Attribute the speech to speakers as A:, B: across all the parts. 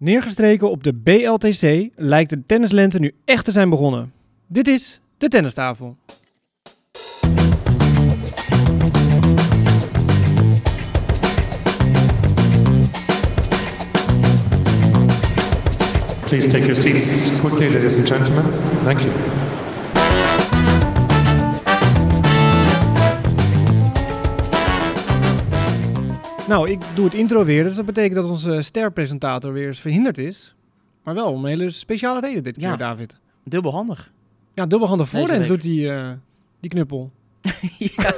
A: Neergestreken op de BLTC lijkt de tennislente nu echt te zijn begonnen. Dit is de tennistafel.
B: Please take your seats quickly, ladies and gentlemen. Thank you.
A: Nou, ik doe het intro weer, dus dat betekent dat onze sterpresentator weer eens verhinderd is. Maar wel om een hele speciale reden dit keer,
C: Ja.
A: David.
C: Dubbelhandig.
A: Ja, dubbelhandig
C: Deze
A: voorhands
C: week.
A: doet die, eh, die knuppel.
C: ja.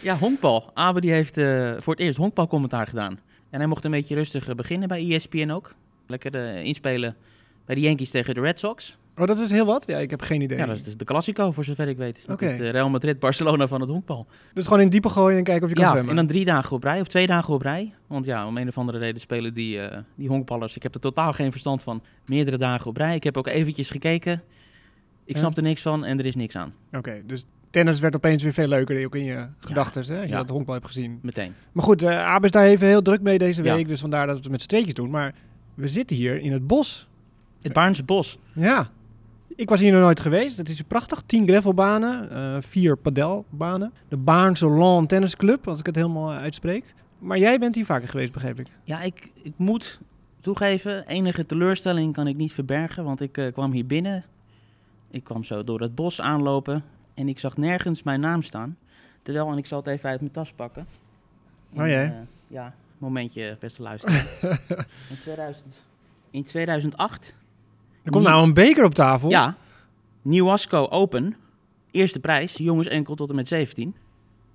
C: ja, honkbal. Abe die heeft eh, voor het eerst honkbalcommentaar gedaan. En hij mocht een beetje rustig eh, beginnen bij ESPN ook. Lekker eh, inspelen bij de Yankees tegen de Red Sox.
A: Oh, dat is heel wat? Ja, ik heb geen idee.
C: Ja, dat is dus de Classico voor zover ik weet. Dat
A: Oké.
C: is de Real Madrid-Barcelona van het honkbal.
A: Dus gewoon in het diepe gooien en kijken of je kan
C: Ja,
A: zwemmen.
C: en dan drie dagen op rij of twee dagen op rij. Want ja, om een of andere reden spelen die, eh, die honkballers. Ik heb er totaal geen verstand van. Meerdere dagen op rij. Ik heb ook eventjes gekeken. Ik
A: Ja.
C: snap er niks van en er is niks aan.
A: Oké, dus tennis werd opeens weer veel leuker, ook in je gedachten, hè, als je
C: Ja.
A: dat honkbal hebt gezien.
C: Meteen.
A: Maar goed, eh Abe is daar even heel druk mee deze
C: Ja.
A: week, dus vandaar dat we het met z'n tweetjes doen. Maar we zitten hier in het bos.
C: Het Baarnse Bos.
A: Ja, ik was hier nog nooit geweest. Het is prachtig. 10 gravelbanen, eh vier padelbanen. De Baarnse Lawn Tennis Club, als ik het helemaal eh, uitspreek. Maar jij bent hier vaker geweest, begreep ik.
C: Ja, ik, ik moet toegeven, enige teleurstelling kan ik niet verbergen, want ik eh, kwam hier binnen. Ik kwam zo door het bos aanlopen en ik zag nergens mijn naam staan. Terwijl, en ik zal het even uit mijn tas pakken.
A: Oh jee.
C: eh, ja, momentje, beste luisteraar. in, 2000, in 2008,
A: Er komt
C: Niet-
A: nou een beker op tafel.
C: ja, Nieuwasco Open, eerste prijs, jongens enkel tot en met 17.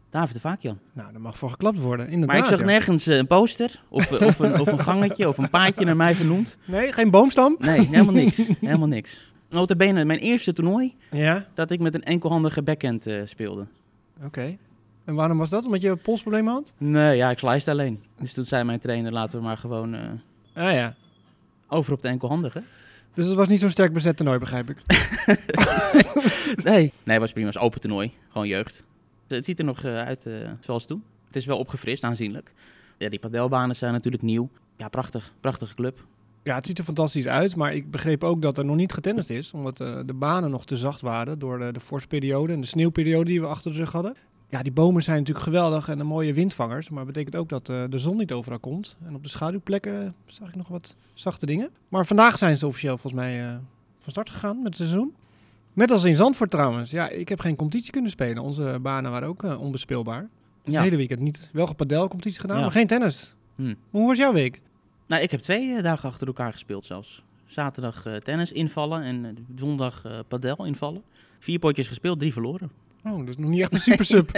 C: David de Vaakjan.
A: Nou, daar mag voor geklapt worden, inderdaad.
C: Maar ik zag
A: ja.
C: nergens eh, een poster of, eh, of, een, of een gangetje of een paadje naar mij vernoemd.
A: Nee, geen boomstam?
C: Nee, helemaal niks. helemaal niks. Nota bene, mijn eerste toernooi
A: Ja,
C: dat ik met een enkelhandige backhand eh, speelde.
A: oké. En waarom was dat? Omdat je polsproblemen had?
C: Nee, ja, ik sliced alleen. Dus toen zei mijn trainer, laten we maar gewoon eh,
A: Ah ja.
C: over op de enkelhandige.
A: Dus het was niet zo'n sterk bezet toernooi, begrijp ik.
C: Nee. Nee, was prima. Het was open toernooi. Gewoon jeugd. Het ziet er nog eh, uit eh, zoals toen. Het is wel opgefrist, aanzienlijk. Ja, die padelbanen zijn natuurlijk nieuw. Ja, prachtig. Prachtige club.
A: Ja, het ziet er fantastisch uit, maar ik begreep ook dat er nog niet getennist is, omdat eh, de banen nog te zacht waren door eh, de vorstperiode en de sneeuwperiode die we achter de rug hadden. Ja, die bomen zijn natuurlijk geweldig en een mooie windvangers, maar betekent ook dat eh, de zon niet overal komt. En op de schaduwplekken eh, zag ik nog wat zachte dingen. Maar vandaag zijn ze officieel volgens mij eh, van start gegaan met het seizoen. Net als in Zandvoort trouwens. Ja, ik heb geen competitie kunnen spelen. Onze banen waren ook eh, onbespeelbaar. Dus
C: Ja.
A: het hele weekend niet. Wel padelcompetitie gedaan,
C: Ja.
A: maar geen tennis.
C: Hm.
A: Maar hoe was jouw week?
C: Nou, ik heb twee eh, dagen achter elkaar gespeeld zelfs. Zaterdag eh, tennis invallen en eh, zondag eh, padel invallen. Vier potjes gespeeld, drie verloren.
A: Oh, dat is nog niet echt een super sub.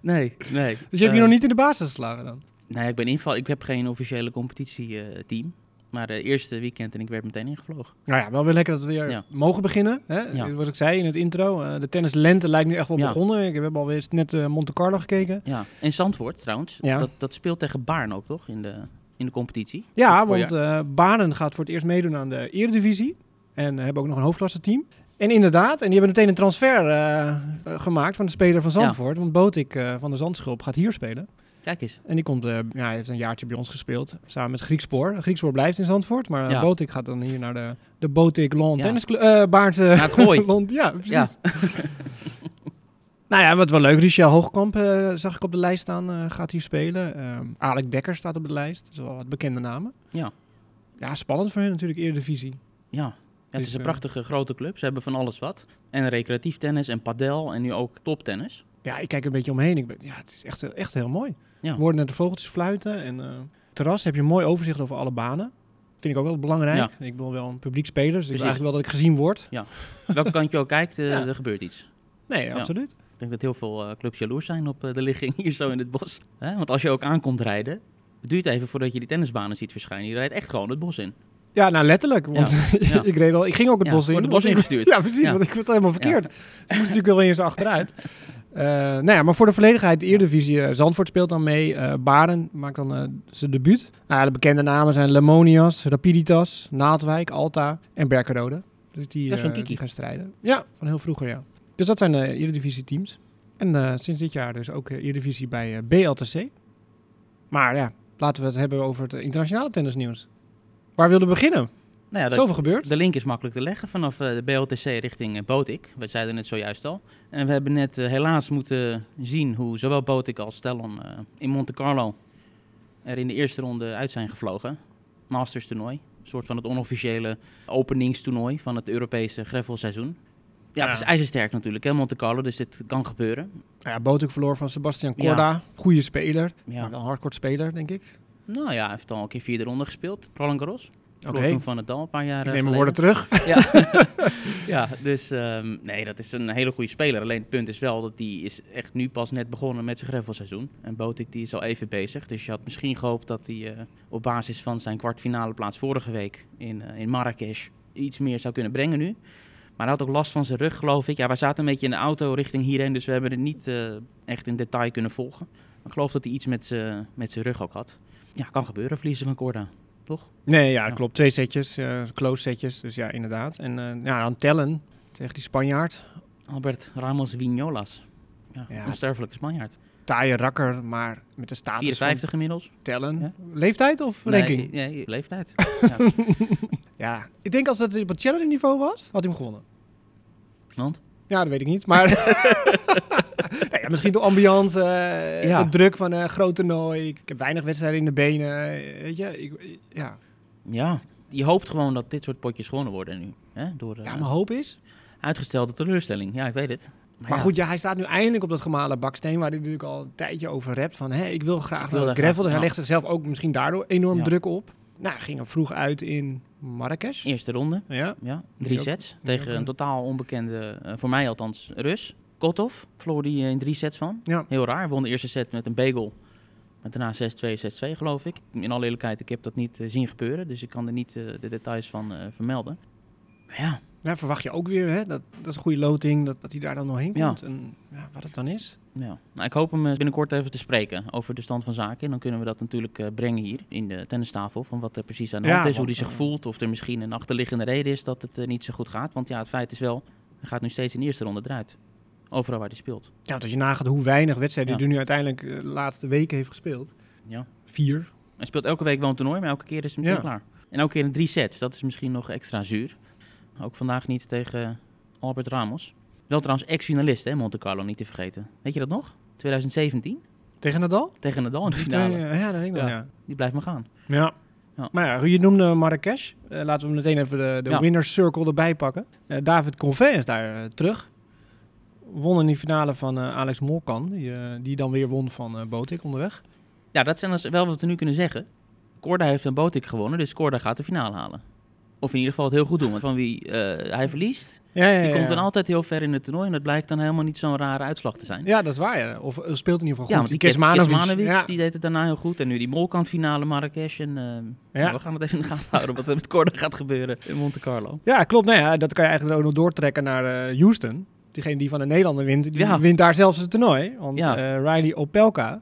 C: Nee, nee. Eh,
A: Dus je hebt je nog niet in de basis geslagen dan?
C: Nee, Nou ik ben inval. Ik heb geen officiële competitieteam. maar eh eerste weekend en ik werd meteen ingevlogen.
A: Nou ja, wel weer lekker dat we weer
C: Ja.
A: mogen beginnen. Hè?
C: Ja.
A: Wat ik zei in het intro, eh, de tennislente lijkt nu echt wel
C: Ja.
A: begonnen. Ik- We hebben alweer net eh, Monte Carlo gekeken.
C: Ja. En Zandvoort trouwens,
A: Ja.
C: dat, dat speelt tegen Baarn ook toch in de, in de competitie?
A: Ja,
C: Dit voorjaar.
A: want eh Banen gaat voor het eerst meedoen aan de Eredivisie. En eh, hebben ook nog een hoofdklasse team. En inderdaad, en die hebben meteen een transfer eh, eh, gemaakt van de speler van Zandvoort. Want Botik eh, van de Zandschulp gaat hier spelen.
C: Kijk eens.
A: En die komt, eh, ja, hij heeft een jaartje bij ons gespeeld. Samen met Griekspoor. Griekspoor blijft in Zandvoort. Maar eh,
C: Ja.
A: Botik gaat dan hier naar de, de Botik Lawn
C: Ja.
A: Tennis Club. eh Baarnse
C: Naar het gooi.
A: Lond- ja, precies.
C: Ja.
A: Nou ja, wat wel leuk. Richel Hoogkamp eh, zag ik op de lijst staan, eh, gaat hier spelen. Ehm Alec Dekker staat op de lijst. Dat is wel wat bekende namen.
C: Ja.
A: Ja, spannend voor hen natuurlijk, Eredivisie.
C: Ja. Ja, het
A: Dus,
C: is een
A: eh,
C: prachtige grote club. Ze hebben van alles wat. En recreatief tennis en padel en nu ook toptennis.
A: Ja, ik kijk een beetje omheen. Ik ben, ja, het is echt, eh, echt heel mooi.
C: Ja.
A: We hoorden net de vogeltjes fluiten. En eh, terras heb je een mooi overzicht over alle banen. Vind ik ook wel belangrijk. Ik ben wel een publiek speler, dus ik wil
C: Precies.
A: eigenlijk wel dat ik gezien word.
C: Welke kant je ook kijkt, eh,
A: Ja.
C: er gebeurt iets.
A: Nee,
C: Ja.
A: absoluut.
C: Ik denk dat heel veel eh, clubs jaloers zijn op eh, de ligging hier zo in het bos. Hè? Want als je ook aankomt rijden, het duurt even voordat je die tennisbanen ziet verschijnen. Je rijdt echt gewoon het bos in.
A: Ja, nou letterlijk. Want
C: Ja.
A: ik reed wel, ik ging ook het
C: Ja,
A: bos in.
C: wordt het
A: want
C: bos
A: ik-
C: ingestuurd.
A: Ja, precies,
C: Ja.
A: want ik werd helemaal verkeerd. Ik moest natuurlijk wel eens achteruit. Eh, nou ja, maar voor de volledigheid, de Eredivisie, eh, Zandvoort speelt dan mee. eh Baren maakt dan eh, zijn debuut. Nou ja, de bekende namen zijn Lemonias, Rapiditas, Naaldwijk, Alta en Berkenrode. Dus die,
C: Dat is
A: eh,
C: van Kiki.
A: die gaan strijden. Ja, van heel vroeger, ja. Dus dat zijn de Eredivisie teams. En eh, sinds dit jaar dus ook eh, Eredivisie bij eh, BLTC. Maar ja, laten we het hebben over het eh, internationale tennisnieuws. Waar wilden we beginnen?
C: Nou ja, dat-
A: Zoveel gebeurd.
C: de link is makkelijk te leggen vanaf eh, de BLTC richting eh, Botik. We zeiden het zojuist al. En we hebben net eh, helaas moeten zien hoe zowel Botik als Stellon eh, in Monte Carlo er in de eerste ronde uit zijn gevlogen. Masters toernooi. Een soort van het onofficiële openingstoernooi van het Europese greffelseizoen. Ja, het
A: Ja.
C: is ijzersterk natuurlijk, hè, Monte Carlo, dus dit kan gebeuren.
A: Nou ja, Botuk verloor van Sebastian
C: Ja.
A: Corda. Goede speler.
C: Ja.
A: Maar wel een hardcore speler, denk ik.
C: Nou ja, hij heeft al een keer vierde ronde gespeeld, Roland Garros.
A: Oké,
C: Verloor toen van het Dal een paar jaar
A: ik
C: eh,
A: neem mijn
C: geleden.
A: woorden terug.
C: Ja, ja dus ehm, nee, dat is een hele goede speler. Alleen het punt is wel dat die is echt nu pas net begonnen met zijn gravelseizoen. En Botik die is al even bezig. Dus je had misschien gehoopt dat hij eh, op basis van zijn kwartfinale plaats vorige week in, eh, in Marrakesh iets meer zou kunnen brengen nu. Maar hij had ook last van zijn rug, geloof ik. Ja, wij zaten een beetje in de auto richting hierheen, dus we hebben het niet eh, echt in detail kunnen volgen. Maar ik geloof dat hij iets met zijn met zijn rug ook had. Ja, kan gebeuren, verliezen van Corda. Toch?
A: Nee, ja,
C: Ja.
A: klopt. Twee setjes, eh, close setjes. Dus ja, inderdaad. En eh ja, aan tellen tegen die Spanjaard.
C: Albert Ramos Vignolas. Ja,
A: Ja.
C: Onsterfelijke Spanjaard.
A: Taaie rakker, maar met de status
C: 54 inmiddels.
A: van tellen.
C: Ja.
A: Leeftijd of ranking?
C: Nee, nee, leeftijd.
A: Ja, ik denk als dat op het challenge niveau was, had hij hem gewonnen.
C: Want?
A: Ja, dat weet ik niet. Maar Nou ja, misschien door ambiance, eh,
C: Ja.
A: de druk van een groot toernooi. Ik heb weinig wedstrijden in de benen. eh, Weet je, ik, ja.
C: Ja. Je hoopt gewoon dat dit soort potjes gewonnen worden nu. Hè? Door eh,
A: ja, mijn hoop is...
C: uitgestelde teleurstelling. Ja, ik weet het. Maar,
A: Maar
C: ja,
A: goed, ja, hij staat nu eindelijk op dat gemalen baksteen... waar hij natuurlijk al een tijdje over rept van... Hé, ik wil graag
C: Ik wil
A: naar
C: daar
A: het gravel.
C: graag-
A: Dus hij
C: ja.
A: legt zichzelf ook misschien daardoor enorm
C: Ja.
A: druk op. Nou, ging er vroeg uit in Marrakesh.
C: Eerste ronde.
A: Ja.
C: Ja, drie
A: ook-
C: sets.
A: die
C: Tegen
A: ook,
C: een
A: eh.
C: totaal onbekende, eh, voor mij althans, Rus. Kotov. Verloor die eh, in drie sets van.
A: Ja.
C: Heel raar. Won de eerste set met een bagel. Maar daarna 6-2, 6-2 geloof ik. In alle eerlijkheid, ik heb dat niet eh, zien gebeuren. Dus ik kan er niet eh, de details van eh, vermelden. Maar ja,
A: Nou, verwacht je ook weer, hè? Dat, dat is een goede loting, dat, dat hij daar dan nog heen
C: Ja.
A: komt. En ja, wat het dan is.
C: Ja, nou, ik hoop hem eh, binnenkort even te spreken over de stand van zaken. En dan kunnen we dat natuurlijk eh, brengen hier in de tennistafel. Van wat er precies aan de
A: Ja,
C: hand is, hoe
A: want,
C: hij zich
A: eh,
C: voelt. Of er misschien een achterliggende reden is dat het eh, niet zo goed gaat. Want ja, het feit is wel, hij gaat nu steeds in de eerste ronde eruit. Overal waar hij speelt.
A: Ja, want als je nagaat hoe weinig wedstrijden
C: Ja.
A: hij nu uiteindelijk eh, de laatste weken heeft gespeeld.
C: Ja.
A: Vier.
C: Hij speelt elke week wel een toernooi, maar elke keer is hij meteen
A: Ja.
C: klaar. En elke keer in drie sets. Dat is misschien nog extra zuur. Ook vandaag niet tegen eh, Albert Ramos. Wel trouwens ex-finalist, hè, Monte Carlo, niet te vergeten. Weet je dat nog? 2017,
A: Tegen Nadal? eh,
C: tegen Nadal in de Oh, finale.
A: Ja, dat weet ik nog,
C: Ja.
A: ja.
C: Die blijft maar gaan.
A: Ja.
C: Ja.
A: Maar ja, je noemde Marrakesh. Eh, laten we meteen even de, de
C: Ja.
A: winner circle erbij pakken. Eh, David Convey is daar eh, terug. Won in die finale van eh, Alex Molkan. Die, eh, die dan weer won van eh Botik onderweg.
C: Ja, dat zijn dus wel wat we nu kunnen zeggen. Korda heeft een Botik gewonnen, dus Korda gaat de finale halen. Of in ieder geval het heel goed doen. Want van wie eh, hij verliest,
A: Ja, ja,
C: die komt dan altijd heel ver in het toernooi. En dat blijkt dan helemaal niet zo'n rare uitslag te zijn.
A: Ja, dat is waar. Ja. Of eh, speelt in ieder geval goed.
C: Ja, want die Kes-
A: Kesmanovic.
C: Kesmanovic,
A: ja.
C: die deed het daarna heel goed. En nu die Molkant finale Marrakesh. En, eh, nou, we gaan het even in de gaten houden wat er met Korda gaat gebeuren in Monte Carlo.
A: Ja, klopt. Nou ja, dat kan je eigenlijk ook nog doortrekken naar eh, Houston. Diegene die van de Nederlander wint, die
C: Ja.
A: wint daar zelfs het toernooi. Want
C: Ja.
A: eh, Riley Opelka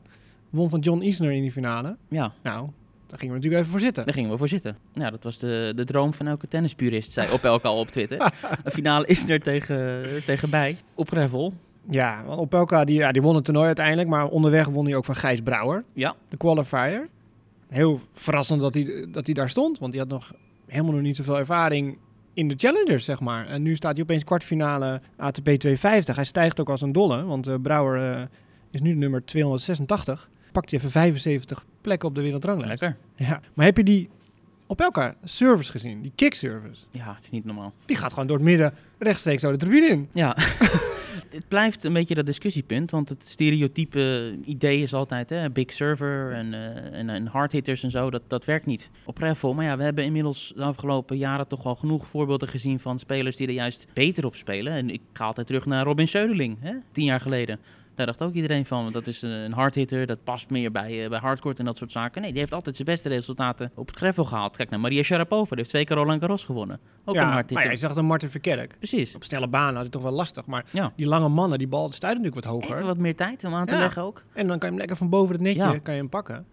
A: won van John Isner in die finale.
C: Ja,
A: Nou, daar gingen we natuurlijk even voor zitten.
C: daar gingen we voor zitten. Ja, dat was de, de droom van elke tennispurist, zei op elkaar op Twitter. Een finale is er tegen, tegen bij, op gravel.
A: Ja, want Opelka die, ja, die won het toernooi uiteindelijk. Maar onderweg won hij ook van Gijs Brouwer,
C: Ja,
A: de qualifier. Heel verrassend dat hij, dat hij daar stond. Want die had nog helemaal nog niet zoveel ervaring in de challengers, zeg maar. En nu staat hij opeens kwartfinale ATP 250. Hij stijgt ook als een dolle, want eh, Brouwer eh, is nu nummer 286. Pakt hij even 75 plekken op de wereldranglijst.
C: lekker.
A: Ja, maar heb je die Opelka service gezien? Die kickservice?
C: Ja, het is niet normaal.
A: Die gaat gewoon door het midden rechtstreeks zo de tribune in.
C: Ja, het blijft een beetje dat discussiepunt. Want het stereotype idee is altijd hè, big server en, eh en, en hardhitters en zo. Dat, dat werkt niet op Revel. Maar ja, we hebben inmiddels de afgelopen jaren toch wel genoeg voorbeelden gezien van spelers die er juist beter op spelen. En ik ga altijd terug naar Robin Söderling, hè, tien jaar geleden. Daar dacht ook iedereen van, dat is een hardhitter, dat past meer bij, eh, bij hardcourt en dat soort zaken. Nee, die heeft altijd zijn beste resultaten op het gravel gehaald. Kijk naar Maria Sharapova, die heeft twee keer Roland Garros gewonnen. Ook
A: ja,
C: een
A: maar
C: hardhitter.
A: jij zag dan Martin Verkerk.
C: Precies.
A: op snelle banen had het toch wel lastig. Maar
C: Ja.
A: die lange mannen, die bal stuit natuurlijk wat hoger.
C: Even wat meer tijd om aan te
A: Ja.
C: leggen ook.
A: En dan kan je hem lekker van boven het netje
C: Ja.
A: kan je hem pakken.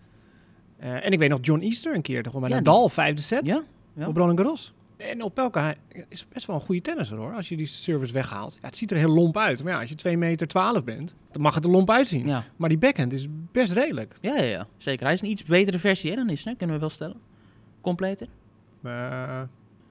A: Eh, en ik weet nog John Easter een keer, toch wel bij
C: Ja, dus-
A: Nadal, vijfde set,
C: Ja, ja.
A: op Roland Garros. En Opelka hij is best wel een goede tennisser hoor, als je die service weghaalt. Ja, het ziet er heel lomp uit, maar ja, als je 2 meter 12 bent, dan mag het er lomp uitzien.
C: ja.
A: Maar die backhand is best redelijk.
C: Ja, ja, ja, zeker. Hij is een iets betere versie hè, dan Isner, kunnen we wel stellen. Completer.
A: Eh,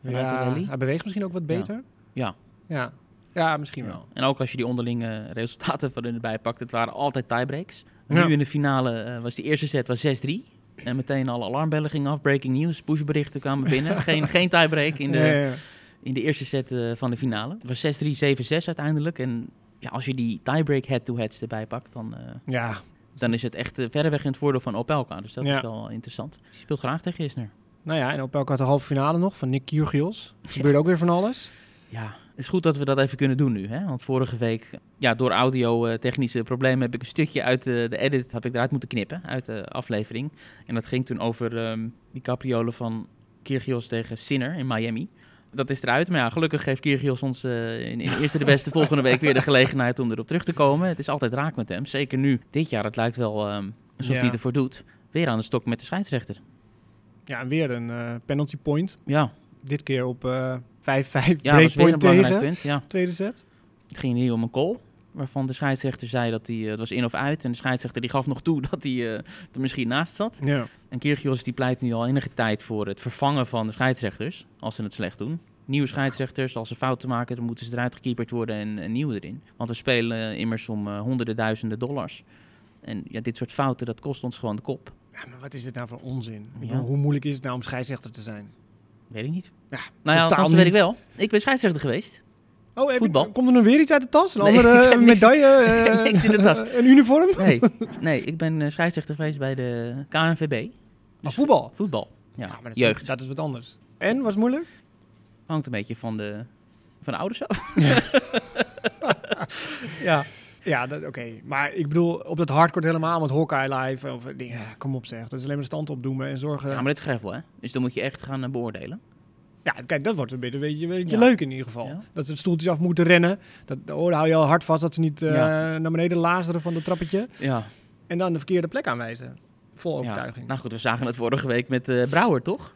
C: Vanuit de
A: ja,
C: rally?
A: hij beweegt misschien ook wat beter.
C: Ja.
A: Ja, ja misschien wel.
C: Ja. En ook als je die onderlinge eh, resultaten van hun erbij pakt, het waren altijd tiebreaks.
A: Ja.
C: Nu in de finale eh, was die eerste set was 6-3. En meteen alle alarmbellen gingen af, breaking news, pushberichten kwamen binnen. geen, geen tiebreak in de,
A: Ja, ja, ja.
C: in de eerste set eh, van de finale. Het was 6-3, 7-6 uiteindelijk. En ja, als je die tiebreak head-to-heads erbij pakt, dan, eh,
A: Ja,
C: dan is het echt eh, verreweg in het voordeel van Opelka. Dus dat
A: Ja.
C: is wel interessant. Die speelt graag tegen Isner.
A: nou ja, en Opelka had de halve finale nog van Nick Kyrgios. Er gebeurde ook weer van alles.
C: Ja, het is goed dat we dat even kunnen doen nu. Hè? Want vorige week, ja, door audio-technische problemen heb ik een stukje uit eh, de edit heb ik eruit moeten knippen. Uit de aflevering. En dat ging toen over ehm, die capriolen van Kyrgios tegen Sinner in Miami. Dat is eruit. Maar ja, gelukkig geeft Kyrgios ons eh, in, in de eerste de beste volgende week weer de gelegenheid om erop terug te komen. Het is altijd raak met hem. Zeker nu, dit jaar. Het lijkt wel ehm, alsof
A: Ja.
C: hij het ervoor doet. Weer aan de stok met de scheidsrechter.
A: Ja, en weer een eh, penalty point.
C: Ja,
A: Dit keer op eh 5-5
C: ja dat was weer een
A: breakpoint
C: belangrijk
A: tegen.
C: punt. Ja.
A: Tweede set.
C: Het ging hier om een call. Waarvan de scheidsrechter zei dat hij. eh, Het was in of uit. En de scheidsrechter die gaf nog toe dat hij eh, er misschien naast zat.
A: Ja.
C: En Kyrgios die pleit nu al enige tijd voor het vervangen van de scheidsrechters. Als ze het slecht doen. Nieuwe scheidsrechters, als ze fouten maken, dan moeten ze eruit gekieperd worden en, en nieuwe erin. Want we spelen eh, immers om eh, honderden duizenden dollars. En ja, dit soort fouten, dat kost ons gewoon de kop.
A: Ja, maar wat is dit nou voor onzin? Ik
C: Ja.
A: bedoel, Hoe moeilijk is het nou om scheidsrechter te zijn?
C: Weet ik niet.
A: Ja,
C: nou ja,
A: totaal
C: althans, dat weet ik
A: niet.
C: wel. Ik ben scheidsrechter geweest.
A: Oh, heb
C: Voetbal.
A: Ik, komt er nog weer iets uit de tas? Een
C: Nee,
A: andere
C: ik heb
A: eh,
C: niks-
A: medaille?
C: ik heb
A: eh,
C: niks in de tas.
A: Een uniform?
C: Nee, nee ik ben eh, scheidsrechter geweest bij de KNVB.
A: Maar voetbal? Ah,
C: Voetbal. Ja,
A: maar dat is-
C: jeugd.
A: Dat is wat anders. En, was het moeilijk?
C: hangt een beetje van de, van de ouders af.
A: Ja. Ja, dat- oké. Maar ik bedoel, op dat hardcore helemaal met Hawkeye Live. Of, eh, dingen, ja, kom op zeg, dat is alleen maar stand opdoemen en zorgen.
C: Ja,
A: Ja,
C: maar dit is gravel, hè? Dus dan moet je echt gaan eh, beoordelen.
A: kijk, dat wordt een beetje, weet je, weet je
C: Ja.
A: leuk in ieder geval.
C: Ja.
A: Dat ze de stoeltjes af moeten rennen. Dat, oh, daar hou je al hard vast dat ze niet eh,
C: Ja.
A: naar beneden lazeren van dat trappetje.
C: Ja,
A: En dan de verkeerde plek aanwijzen. Vol overtuiging.
C: Nou goed, we zagen het vorige week met eh, Brouwer, toch?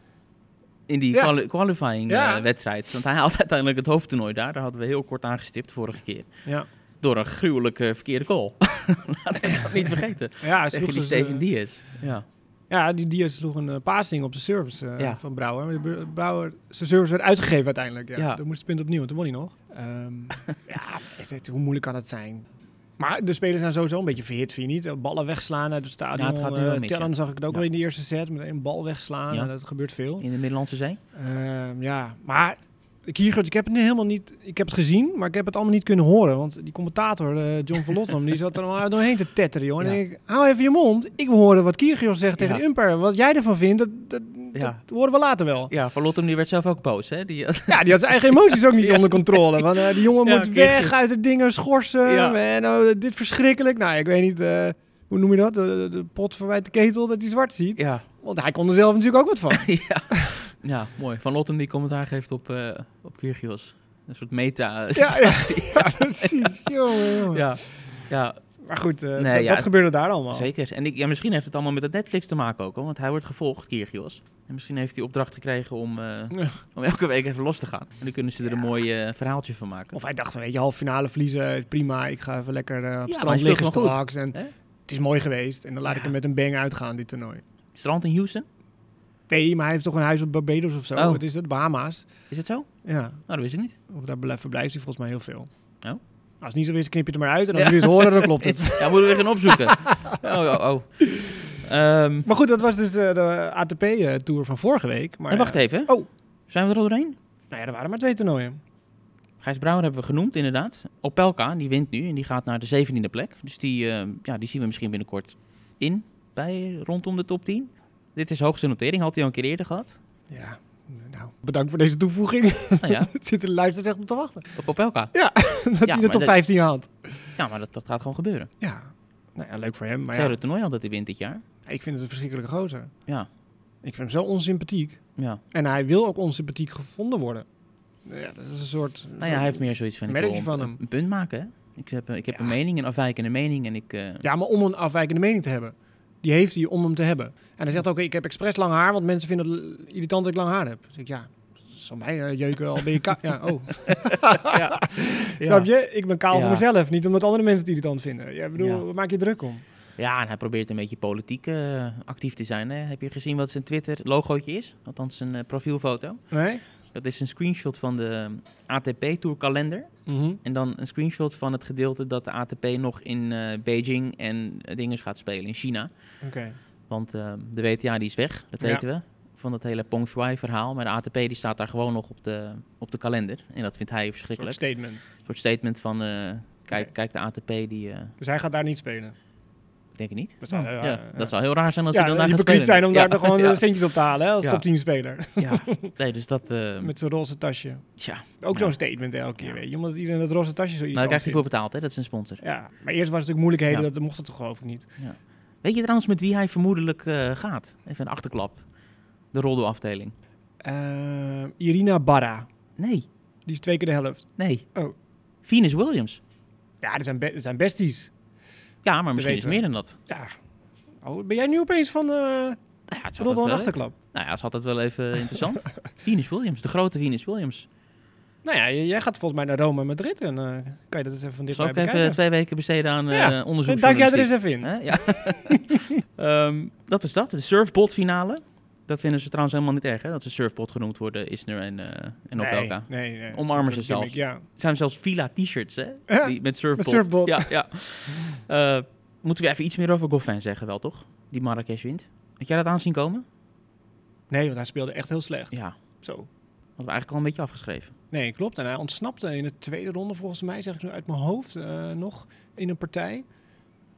C: In die
A: Ja.
C: quali- qualifying eh,
A: Ja.
C: wedstrijd. Want hij haalt uiteindelijk het hoofdtoernooi daar. Daar hadden we heel kort aangestipt vorige keer.
A: Ja,
C: Door een gruwelijke verkeerde goal. Laten we dat niet vergeten.
A: ja, ze
C: Tegen die
A: sloeg dus,
C: Steven
A: eh,
C: Diaz. Ja.
A: Ja, die Diaz sloeg een eh, paasding op de service eh,
C: Ja.
A: van Brouwer. Maar de Br- Brouwer, zijn service werd uitgegeven uiteindelijk. Ja.
C: Ja.
A: Toen moest het punt opnieuw, want toen won hij nog. Ehm, ja, het- het- hoe moeilijk kan het zijn? Maar de spelers zijn sowieso een beetje verhit, vind je niet? Eh, Ballen wegslaan uit het stadion.
C: Ja, het gaat nu
A: Eh,
C: wel mis,
A: Tellen zag ik het ook
C: Ja.
A: wel in de eerste set. Met een bal wegslaan,
C: Ja.
A: en dat gebeurt veel.
C: In de Middellandse Zee.
A: Ehm, ja, maar Kiergaard, ik heb het helemaal niet... Ik heb het gezien, maar ik heb het allemaal niet kunnen horen. Want die commentator, eh, John van Lottem, die zat er allemaal doorheen te tetteren, joh. En
C: Ja.
A: ik denk, hou even je mond. Ik wil horen wat Kiergaard zegt tegen
C: Ja.
A: de umper. Wat jij ervan vindt, dat, dat,
C: Ja.
A: dat horen we later wel.
C: Ja, Van Lottem die werd zelf ook boos, hè? Die,
A: Ja, die had zijn eigen emoties ook niet onder controle. Want eh, die jongen
C: Ja,
A: moet
C: Kiergios.
A: weg uit de dingen, schorsen.
C: Ja.
A: En oh, dit verschrikkelijk. Nou, ik weet niet... eh, hoe noem je dat? De, de pot verwijt de ketel dat hij zwart ziet.
C: ja.
A: Want hij kon er zelf natuurlijk ook wat van.
C: ja. ja, mooi. Van Lottem die commentaar geeft op, eh op Kyrgios. Een soort meta eh,
A: Ja, ja.
C: situatie.
A: Ja, precies. Jongen, jongen.
C: ja. ja,
A: Maar goed, eh,
C: Nee,
A: dat,
C: ja,
A: dat gebeurde daar allemaal.
C: zeker. En ik, ja, misschien heeft het allemaal met het Netflix te maken ook, hoor, want hij wordt gevolgd, Kyrgios. En misschien heeft hij opdracht gekregen om, eh,
A: Ja.
C: om elke week even los te gaan. En dan kunnen ze er een mooi eh, verhaaltje van maken.
A: Of hij dacht van, weet je, halve finale verliezen, prima. Ik ga even lekker eh, op
C: maar
A: het
C: hij
A: strand
C: speelt
A: liggen,
C: wel goed.
A: straks. En
C: Hè?
A: het is mooi geweest. En dan laat ik
C: Ja.
A: hem met een bang uitgaan, dit toernooi.
C: Strand in Houston,
A: Nee, maar hij heeft toch een huis op Barbados of zo?
C: Oh.
A: Wat is dat? Bahama's?
C: is het zo? Nou,
A: Ja,
C: dat wist ik niet.
A: of daar bele- verblijft hij volgens mij heel veel.
C: Oh.
A: Als het niet zo is, knip je het er maar uit. En als
C: Ja.
A: jullie het horen, dan klopt het.
C: Ja, moeten we weer gaan opzoeken. oh, oh, oh. Ehm,
A: Maar goed, dat was dus eh, de ATP-tour van vorige week. Maar,
C: en wacht
A: eh,
C: even.
A: oh.
C: Zijn we er al doorheen?
A: nou ja, er waren maar twee toernooien.
C: Gijs Brouwer hebben we genoemd, inderdaad. Opelka, die wint nu en die gaat naar de 17e plek. Dus die, eh, ja, die zien we misschien binnenkort in, bij, rondom de top 10. Dit is hoogste notering, had hij al een keer eerder gehad.
A: Ja, nou, bedankt voor deze toevoeging.
C: nou ja,
A: het zit de luisteraars echt op te wachten.
C: op Opelka.
A: dat hij de
C: maar
A: top
C: dat-
A: 15 had.
C: Ja, maar dat, dat gaat gewoon gebeuren.
A: Ja, nou ja, leuk voor hem. Maar ja,
C: Tweede toernooi al dat hij wint dit jaar.
A: ik vind het een verschrikkelijke gozer.
C: Ja,
A: Ik vind hem zo onsympathiek.
C: ja.
A: En hij wil ook onsympathiek gevonden worden. Ja, dat is een soort...
C: Nou ja, hij heeft meer zoiets van, ik
A: Merk
C: wil
A: je van
C: een-
A: hem?
C: een punt maken. Hè? Ik heb, ik heb
A: Ja.
C: een mening, een afwijkende mening en ik... eh,
A: Ja, maar om een afwijkende mening te hebben. Die heeft hij om hem te hebben. En hij zegt ook, ik heb expres lang haar, want mensen vinden het l- irritant dat ik lang haar heb. Dus ik, ja, zal mij eh, jeuken al ben je ka- Ja, oh. Snap je? Ik ben kaal
C: Ja.
A: voor mezelf, niet omdat andere mensen het irritant vinden. Ja, ik bedoel,
C: Ja.
A: waar maak je druk om?
C: Ja, en hij probeert een beetje politiek eh, actief te zijn. Hè. Heb je gezien wat zijn Twitter-logootje is? Althans, zijn eh, profielfoto.
A: Nee?
C: Dat is een screenshot van de ehm, ATP-tourkalender.
A: Mhm.
C: En dan een screenshot van het gedeelte dat de ATP nog in eh, Beijing en eh, dingen gaat spelen in China.
A: Oké.
C: Want eh, de WTA die is weg, dat
A: Ja.
C: weten we. Van dat hele Peng Shuai verhaal. Maar de ATP die staat daar gewoon nog op de, op de kalender. En dat vindt hij
A: Een soort
C: verschrikkelijk.
A: statement.
C: Een soort statement van, eh, kijk,
A: Nee.
C: kijk de ATP die... eh,
A: Dus hij gaat daar niet spelen.
C: denk ik niet.
A: Dat zou-
C: ja,
A: ja, ja.
C: dat zou heel raar zijn als
A: ja, eh,
C: hij dan daar gaat
A: hypocriet
C: spelen.
A: zijn om
C: Ja,
A: daar toch gewoon
C: ja,
A: centjes op te halen hè, als
C: Ja.
A: top 10 speler.
C: ja. Nee, dus dat... eh
A: Met zijn roze tasje.
C: Tja,
A: Ook
C: Ja.
A: zo'n statement elke keer,
C: Ja.
A: weet je. Omdat iedereen dat roze tasje zo
C: nou, daar
A: irritant
C: krijgt hij voor
A: vindt.
C: betaald, hè? Dat is een sponsor.
A: Ja, maar eerst was het natuurlijk moeilijkheden,
C: Ja.
A: dat mocht het toch geloof ik niet.
C: Weet je trouwens met wie hij vermoedelijk eh, gaat? Even een achterklap. De roldoafdeling.
A: Eh, Irina Barra,
C: Nee,
A: die is twee keer de helft.
C: nee.
A: Oh.
C: Venus Williams.
A: Ja, dat zijn, be- dat zijn besties.
C: Ja, maar misschien is
A: weten
C: meer dan dat.
A: Ja. Oh, ben jij nu opeens van eh
C: Nou ja, het is altijd
A: Rotterdam
C: wel,
A: Achterklap?
C: nou ja, het is altijd wel even interessant. Venus Williams, de grote Venus Williams.
A: Nou ja, j- jij gaat volgens mij naar Rome en Madrid en eh, kan je dat eens even van
C: Zal
A: dichtbij
C: ik even
A: bekijken.
C: twee weken besteden aan eh
A: Ja,
C: onderzoek?
A: Duik jij er eens even in.
C: Hè? Ja. Ehm, dat is dat. De surfbot finale. Dat vinden ze trouwens helemaal niet erg, hè? Dat ze surfbot genoemd worden, Isner en, eh en
A: nee,
C: Opelka.
A: nee, nee.
C: Omarmen ze
A: Dat bedoel ik,
C: zelfs.
A: Ja.
C: Het zijn zelfs Fila t-shirts, hè?
A: Ja,
C: Die, met surfbot.
A: met surfbot.
C: Ja, ja. Eh, moeten we even iets meer over Goffin zeggen wel, toch? Die Marrakesh wint. Had jij dat aanzien komen?
A: Nee, want hij speelde echt heel slecht.
C: Ja.
A: Zo.
C: Hadden we eigenlijk al een beetje afgeschreven.
A: Nee, klopt. En hij ontsnapte in de tweede ronde, volgens mij, zeg ik nu uit mijn hoofd, eh, nog in een partij.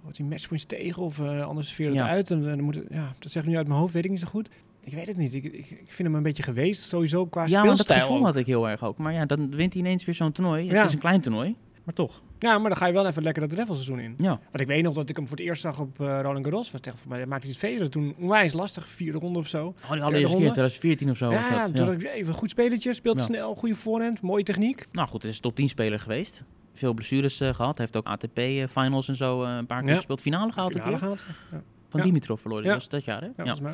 A: Wordt hij matchpoints tegen of eh, anders veerde het
C: Ja.
A: uit. En, eh, dan moet het- ja, dat zeg ik nu uit mijn hoofd, weet ik niet zo goed. Ik weet het niet. Ik, ik, ik vind hem een beetje geweest, sowieso qua
C: ja, maar dat
A: speelstijl.
C: gevoel
A: ook.
C: had ik heel erg ook. Maar ja, dan wint hij ineens weer zo'n toernooi.
A: Ja.
C: Het is een klein toernooi, maar toch.
A: Ja, maar dan ga je wel even lekker dat levelseizoen in.
C: Ja.
A: Want ik weet nog dat ik hem voor het eerst zag op eh, Roland Garros. Was tegen voor mij, maakte hij het vele toen onwijs lastig, vierde ronde of zo.
C: Oh, die
A: ronde?
C: allereerste keer, 2014 of zo. was
A: ja,
C: dat.
A: toen dacht ik, even goed spelletje, speelt
C: Ja.
A: snel, goede voorhand, mooie techniek.
C: Nou goed, het is een top 10 speler geweest. Veel blessures eh, gehad. Heeft ook ATP-finals en zo eh, een paar keer
A: Ja.
C: gespeeld. Finale gehaald een
A: Finale
C: keer.
A: gehaald.
C: Van
A: Ja.
C: Dimitrov verloor hij
A: Ja.
C: was dat jaar, hè?
A: Ja,
C: Ja.
A: volgens mij.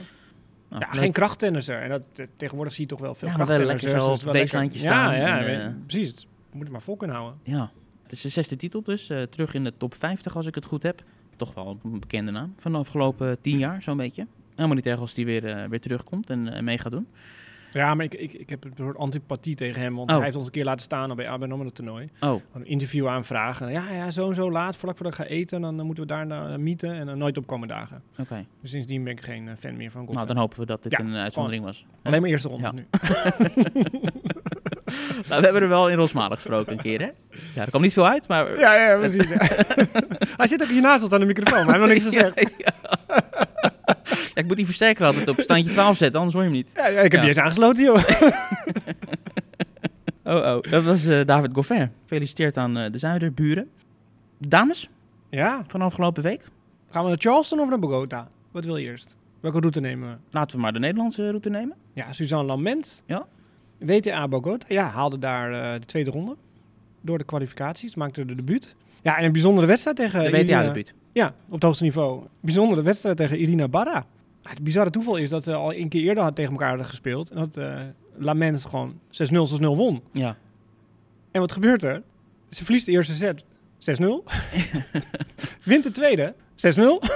C: Nou,
A: Ja,
C: leuk.
A: geen krachttennisser. En dat, eh, tegenwoordig zie je toch wel veel
C: Ja, maar wel
A: krachttennissers.
C: lekker zo
A: dus
C: op
A: wel
C: het
A: lekker-
C: baselijntje staan
A: Ja, ja
C: en,
A: weet-
C: eh,
A: precies. Het moet het maar vol kunnen houden.
C: Ja, het is de zesde titel dus. eh, terug in de top 50 als ik het goed heb. Toch wel een bekende naam van de afgelopen eh, tien jaar, zo'n beetje. Helemaal niet erg als die weer, eh, weer terugkomt en eh, mee gaat doen.
A: Ja, maar ik, ik, ik heb een soort antipathie tegen hem. Want
C: Oh.
A: hij heeft ons een keer laten staan bij ABN AMRO toernooi.
C: Oh,
A: Een interview aanvragen. En Ja, ja, zo en zo laat, vlak voordat ik ga eten. En dan eh, moeten we daarna eh, mieten. En dan nooit opkomen dagen.
C: oké.
A: Dus sindsdien ben ik geen eh, fan meer van golf.
C: Nou, dan hopen we dat dit
A: Ja,
C: een eh, uitzondering was.
A: Alleen maar eerste ronde
C: Ja.
A: nu.
C: Nou, we hebben er wel in Rosmalen gesproken een keer, hè? Ja, er kwam niet veel uit, maar...
A: Ja, ja, precies. ja. hij zit ook hiernaast ons aan de microfoon, maar hij heeft nog niks gezegd.
C: Ja, ik moet die versterker altijd op standje 12 zetten, anders hoor je hem niet.
A: Ja, ja, ik heb niet
C: Ja.
A: eens aangesloten, joh.
C: Oh, oh. Dat was eh, David Goffin. Gefeliciteerd aan eh, de Zuiderburen. Dames,
A: Ja,
C: van afgelopen week.
A: gaan we naar Charleston of naar Bogota? Wat wil je eerst? Welke route nemen we?
C: Laten we maar de Nederlandse route nemen.
A: Ja, Suzanne Lament.
C: Ja.
A: WTA Bogota. Ja, haalde daar eh, de tweede ronde. Door de kwalificaties. Maakte de debuut. Ja, en een bijzondere wedstrijd tegen
C: De
A: Irina-
C: WTA-debuut.
A: Ja, op het hoogste niveau. Bijzondere wedstrijd tegen Irina Barra. Ja, Het bizarre toeval is dat ze al een keer eerder had tegen elkaar hadden gespeeld. En dat eh, Lament gewoon 6-0, 6-0 won.
C: Ja.
A: En wat gebeurt er? Ze verliest de eerste set 6-0. Wint de tweede 6-0.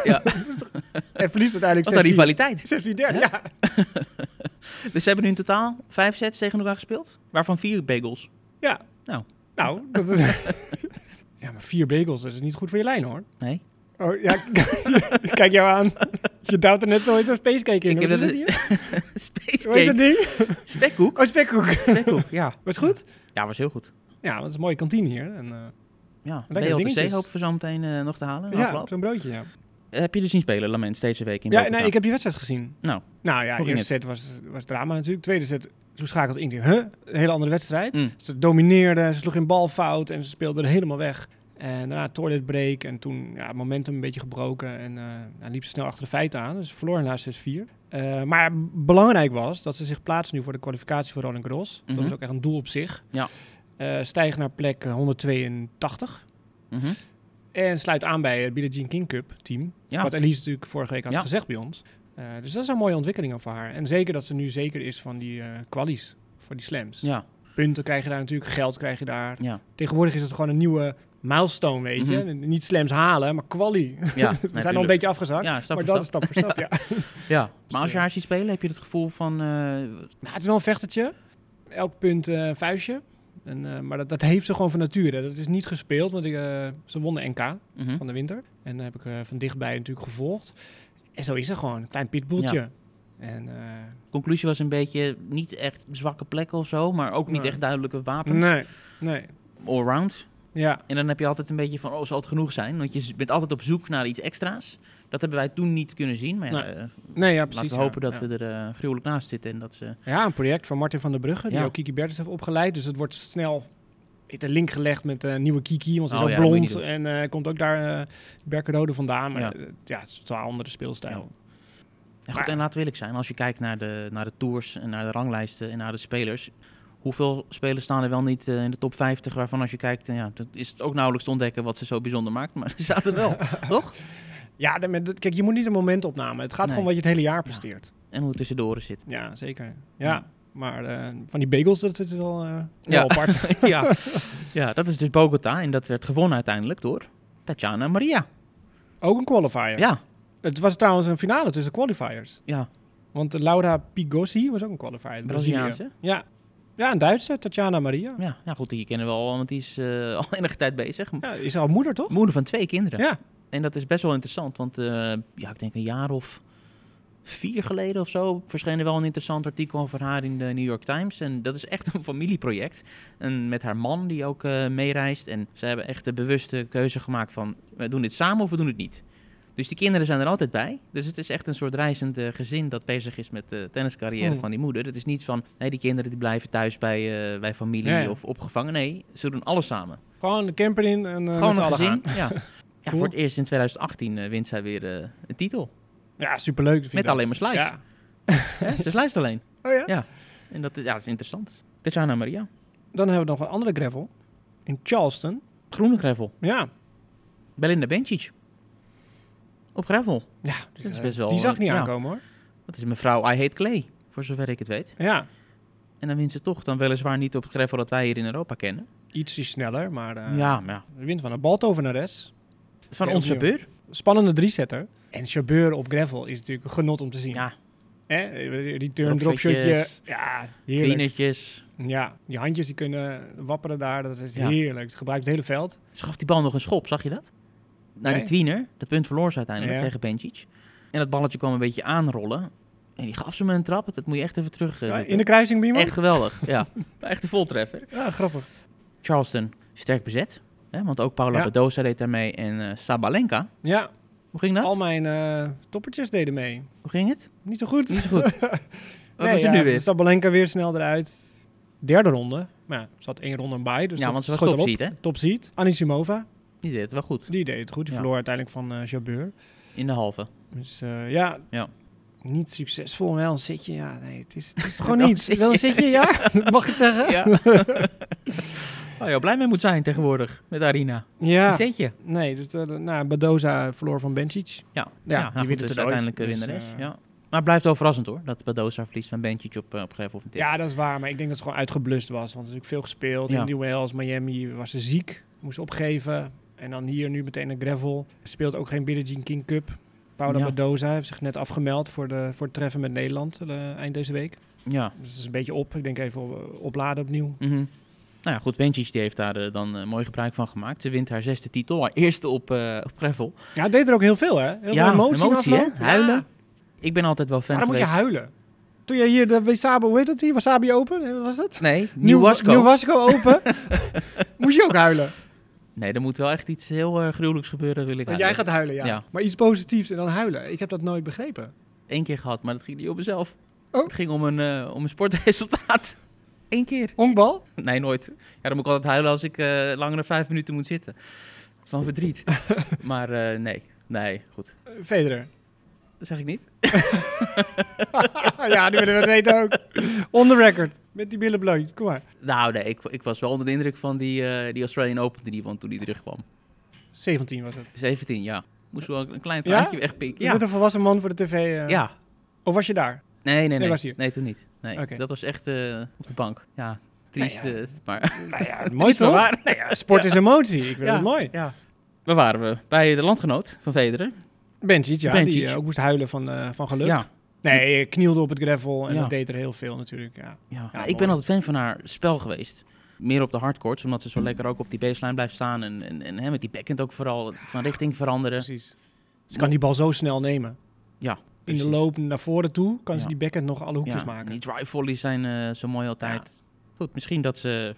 C: Ja.
A: en verliest
C: Wat een
A: uiteindelijk 6-4.
C: rivaliteit.
A: 6-4 derde, ja.
C: Dus ze hebben nu in totaal vijf sets tegen elkaar gespeeld. Waarvan vier bagels.
A: Ja.
C: Nou.
A: Nou, dat is... ja, maar vier bagels, dat is niet goed voor je lijn, hoor.
C: Nee.
A: Oh, ja, k- kijk jou aan. Je duwt er net zoiets zo'n spacecake in.
C: Ik heb
A: Wat is
C: dat-
A: dit hier? Hoe heet dat
C: Spacecake.
A: ding?
C: Spekkoek.
A: Oh, spekkoek.
C: Spekkoek, ja.
A: Was het goed?
C: Ja, was heel goed.
A: Ja, want het is een mooie kantine hier. En, eh,
C: Ja,
A: Lekker
C: BLTC
A: dingetjes.
C: hopen we zo meteen eh, nog te halen.
A: ja,
C: Ja.
A: op zo'n broodje, ja.
C: Heb je dus zien spelen, Lament, deze week in
A: Ja,
C: Bogota?
A: nee, ik heb die wedstrijd gezien.
C: Nou,
A: Nou ja, de
C: Hoe ging
A: eerste set was, was drama natuurlijk. Tweede set, toen schakelde Ingrid, huh? Een hele andere wedstrijd.
C: Mm.
A: Ze domineerde, ze sloeg in bal fout en ze speelde er helemaal weg. En daarna toilet break en toen ja, het momentum een beetje gebroken en eh, nou, liep ze snel achter de feiten aan. Dus ze verloor na 6-4. Eh, maar belangrijk was dat ze zich plaatst nu voor de kwalificatie voor Roland Garros.
C: Mhm.
A: Dat was ook echt een doel op zich.
C: Ja.
A: Eh, stijgt naar plek eh, 182
C: mhm. en
A: en sluit aan bij het Billie Jean King Cup team.
C: Ja.
A: Wat Elise natuurlijk vorige week had
C: Ja.
A: gezegd bij ons. Eh, dus dat zijn mooie ontwikkelingen voor haar. En zeker dat ze nu zeker is van die eh kwalies, voor die slams.
C: ja,
A: Punten krijg je daar natuurlijk, geld krijg je daar.
C: ja.
A: Tegenwoordig is het gewoon een nieuwe milestone, weet
C: Mhm.
A: je. Niet slams halen, maar quali.
C: Ja,
A: We zijn al een beetje afgezakt,
C: Ja, stap
A: maar
C: voor
A: dat is stap voor stap, ja.
C: Ja. Maar als je haar ziet spelen, heb je het gevoel van... eh,
A: Nou, het is wel een vechtertje. Elk punt eh, een vuistje. En, eh, maar dat, dat heeft ze gewoon van nature. Dat is niet gespeeld, want ik, eh, ze won de NK
C: mhm.
A: van de winter. En dat heb ik eh, van dichtbij natuurlijk gevolgd. En zo is ze gewoon, een klein pitboeltje. En eh,
C: Conclusie was een beetje niet echt zwakke plekken of zo, maar ook niet
A: Nee.
C: echt duidelijke wapens.
A: nee, nee.
C: Allround.
A: Ja,
C: En dan heb je altijd een beetje van, oh, zal het genoeg zijn? Want je z- bent altijd op zoek naar iets extra's. Dat hebben wij toen niet kunnen zien, maar ja,
A: Nee,
C: eh,
A: nee, ja precies.
C: laten we
A: ja.
C: hopen dat
A: ja.
C: we er eh, gruwelijk naast zitten en dat ze...
A: Ja, een project van Martin van der Brugge, die
C: Ja.
A: ook Kiki Bertens heeft opgeleid. Dus het wordt snel in de link gelegd met eh nieuwe Kiki, want ze
C: Oh
A: is ook
C: ja, moet je niet
A: blond. En eh, komt ook daar eh Berkerode vandaan. Maar
C: Ja.
A: ja, ja het is een totaal andere speelstijl.
C: Ja, goed, en laten we eerlijk zijn, als je kijkt naar de, naar de tours en naar de ranglijsten en naar de spelers... Hoeveel spelers staan er wel niet eh, in de top 50, waarvan als je kijkt, eh, ja, dat is het ook nauwelijks te ontdekken wat ze zo bijzonder maakt, maar ze staan er wel, toch?
A: Ja, de- met- kijk, je moet niet een moment opname. Het gaat
C: Nee.
A: gewoon wat je het hele jaar presteert.
C: En hoe het tussendoor zit.
A: Ja, zeker. Ja,
C: Ja.
A: maar eh, van die bagels, dat is wel, eh,
C: Ja.
A: wel apart.
C: ja. ja, dat is dus Bogota. En dat werd gewonnen uiteindelijk door Tatjana Maria.
A: ook een qualifier.
C: Ja,
A: Het was trouwens een finale tussen qualifiers.
C: ja.
A: Want eh, Laura Pigossi was ook een qualifier. uit Brazilië.
C: Braziliaanse.
A: Ja. ja, een Duitse, Tatjana Maria.
C: Ja, ja goed, die kennen we al, want die is eh, al enige tijd bezig.
A: Ja, is al moeder, toch?
C: Moeder van twee kinderen.
A: Ja.
C: En dat is best wel interessant, want eh, ja, ik denk een jaar of vier geleden of zo verscheen er wel een interessant artikel over haar in de New York Times. En dat is echt een familieproject. En met haar man die ook eh, meereist. En ze hebben echt de bewuste keuze gemaakt van, we doen dit samen of we doen het niet. Dus die kinderen zijn er altijd bij. Dus het is echt een soort reizend eh, gezin dat bezig is met de tenniscarrière
A: Oh.
C: van die moeder. Het is niet van, nee, die kinderen die blijven thuis bij, eh, bij familie
A: Ja, ja.
C: of opgevangen. Nee, ze doen alles samen.
A: Gewoon de camper in en eh met
C: Gewoon
A: z'n
C: een
A: allen
C: gezin.
A: gaan.
C: Ja. Ja,
A: Cool.
C: voor het eerst in 2018 eh, wint zij weer eh, een titel.
A: Ja, superleuk. Vind ik
C: Met
A: dat.
C: alleen maar slice.
A: Ja.
C: Hè? Ze slijst alleen.
A: Oh ja?
C: En dat is, ja, dat is interessant. Tatjana Maria.
A: Dan hebben we nog een andere gravel. In Charleston.
C: Groene gravel.
A: Ja.
C: Belinda Bencic. Op gravel. Dus
A: Ja,
C: Dat is
A: eh,
C: best wel,
A: die zag niet
C: ja.
A: aankomen, hoor.
C: Dat is mevrouw I Hate Clay. Voor zover ik het weet.
A: Ja.
C: En dan wint ze toch dan weliswaar niet op het gravel dat wij hier in Europa kennen.
A: Ietsje sneller, maar eh
C: ja, maar ja.
A: de wind van een baltovenares.
C: Van
A: Ja,
C: onze
A: opnieuw.
C: beur.
A: Spannende driesetter. En chauffeur op gravel is natuurlijk een genot om te zien.
C: Ja,
A: Hè? Die turn drop shotje.
C: Dropshotjes.
A: Ja, heerlijk.
C: tienertjes.
A: Ja, die handjes die kunnen wapperen daar. Dat is
C: Ja.
A: heerlijk. Het gebruikt het hele veld.
C: Ze gaf die bal nog een schop, zag je dat? Naar
A: Nee.
C: die tweener. Dat punt verloor ze uiteindelijk
A: Ja.
C: tegen Bencic. En dat balletje kwam een beetje aanrollen. En die gaf ze me een trap. Dat moet je echt even terug. eh,
A: Ja,
C: zoeken.
A: in de kruising bij iemand?
C: Echt geweldig, ja. Echt een voltreffer.
A: Ja, grappig.
C: Charleston, sterk bezet. Hè? Want ook Paula
A: Ja.
C: Badosa deed daarmee en eh, Sabalenka.
A: Ja,
C: Hoe ging dat?
A: al mijn eh, toppertjes deden mee.
C: Hoe ging het?
A: Niet zo goed.
C: Niet zo goed. Wat was
A: ja,
C: het nu weer?
A: Sabalenka weer snel eruit. Derde ronde. Maar ja, ze had één ronde bij. Dus
C: ja,
A: dat
C: want ze was
A: schoot erop.
C: topseed, hè?
A: Topseed. Anisimova,
C: Die deed het wel goed.
A: die deed het goed. Die
C: Ja.
A: verloor uiteindelijk van eh Jabeur.
C: In de halve.
A: Dus eh, ja,
C: Ja.
A: niet succesvol. Wel een zitje, ja. Nee, het is, het is gewoon
C: Wel een
A: niet.
C: zitje.
A: Wel een zitje, ja. Mag ik het zeggen?
C: Ja. Waar je al Oh, blij mee moet zijn tegenwoordig met Arina.
A: Ja.
C: Die zet je.
A: Nee, dus eh, nou, Badoza verloor van Bencic.
C: Ja,
A: Ja, die
C: goed,
A: wint het
C: dus
A: er nooit.
C: uiteindelijk eh,
A: Dus,
C: winnares.
A: eh,
C: ja. Maar het blijft wel verrassend hoor, dat Badosa verliest van Bencic op, eh, op Greffel of een tip.
A: Ja, dat is waar. Maar ik denk dat ze gewoon uitgeblust was. Want er is natuurlijk veel gespeeld.
C: Ja.
A: In New Wales, Miami was ze ziek. Moest opgeven. En dan hier nu meteen een gravel. Speelt ook geen Billie Jean King Cup. Paula
C: Ja.
A: Badoza heeft zich net afgemeld voor, de, voor het treffen met Nederland eh, eind deze week.
C: Ja.
A: Dus het is een beetje op. Ik denk even op- eh, opladen opnieuw.
C: Mhm. Nou ja, goed, Bencic die heeft daar eh, dan eh, mooi gebruik van gemaakt. Ze wint haar zesde titel, haar eerste op, eh op Greffel.
A: Ja, het deed er ook heel veel, hè? Heel veel emotie, in
C: hè?
A: afloop. Ja.
C: Huilen. Ik ben altijd wel fan
A: Maar dan moet je
C: geweest.
A: huilen. Toen jij hier de Wasabi, hoe heet dat hier? Wasabi Open, eh, wat was dat?
C: nee, Nieuw Wasco.
A: Nieuw Wasco Open. moest je ook huilen.
C: nee, er moet wel echt iets heel eh, gruwelijks gebeuren, wil ik
A: Want
C: eigenlijk.
A: jij gaat huilen, ja.
C: Ja.
A: Maar iets positiefs en dan huilen. Ik heb dat nooit begrepen.
C: Eén keer gehad, maar dat ging niet op mezelf.
A: Oh.
C: Het ging om een, eh, om een sportresultaat. Eén keer.
A: Honkbal?
C: Nee, nooit. Ja, dan moet ik altijd huilen als ik eh, langer dan vijf minuten moet zitten. Van verdriet. maar eh, nee, nee, goed.
A: Eh, Federer.
C: Dat zeg ik niet.
A: ja, nu willen we het weten ook. On the record. Met die billen bloot. Kom maar.
C: Nou nee, ik, ik was wel onder de indruk van die, eh, die Australian Open die die won toen die terugkwam.
A: 17 was het.
C: 17, ja. Moest wel een klein
A: Ja?
C: plaatje wegpikken.
A: Is
C: Ja.
A: dat een volwassen man voor de tv? eh?
C: ja,
A: Of was je daar?
C: Nee, nee, nee.
A: was hier.
C: Nee, toen niet. Nee,
A: Oké.
C: dat was echt eh, op de bank. Ja, Triest,
A: Nou ja.
C: eh, maar
A: Nou ja, mooi
C: triest maar
A: toch?
C: waar.
A: Nou ja, sport is emotie. Ik vind
C: Ja.
A: het mooi.
C: Ja. Waar waren we? Bij de landgenoot van Vederen.
A: Benjic, ja, die
C: Benjic.
A: eh, ook moest huilen van, eh, van geluk.
C: Ja.
A: Nee, je knielde op het gravel en
C: Ja.
A: dat deed er heel veel natuurlijk. Ja.
C: Ja,
A: Ja,
C: ik ben
A: mooi.
C: altijd fan van haar spel geweest. Meer op de hardcourts, omdat ze
A: Mm.
C: zo lekker ook op die baseline blijft staan. En, en, en hè, met die backhand ook vooral van richting veranderen.
A: Precies. Ze kan die bal zo snel nemen.
C: Ja,
A: In de
C: precies.
A: loop naar voren toe kan
C: Ja.
A: ze die backhand nog alle hoekjes
C: Ja,
A: maken.
C: Die drive volleys zijn eh, zo mooi altijd. Goed, misschien dat ze,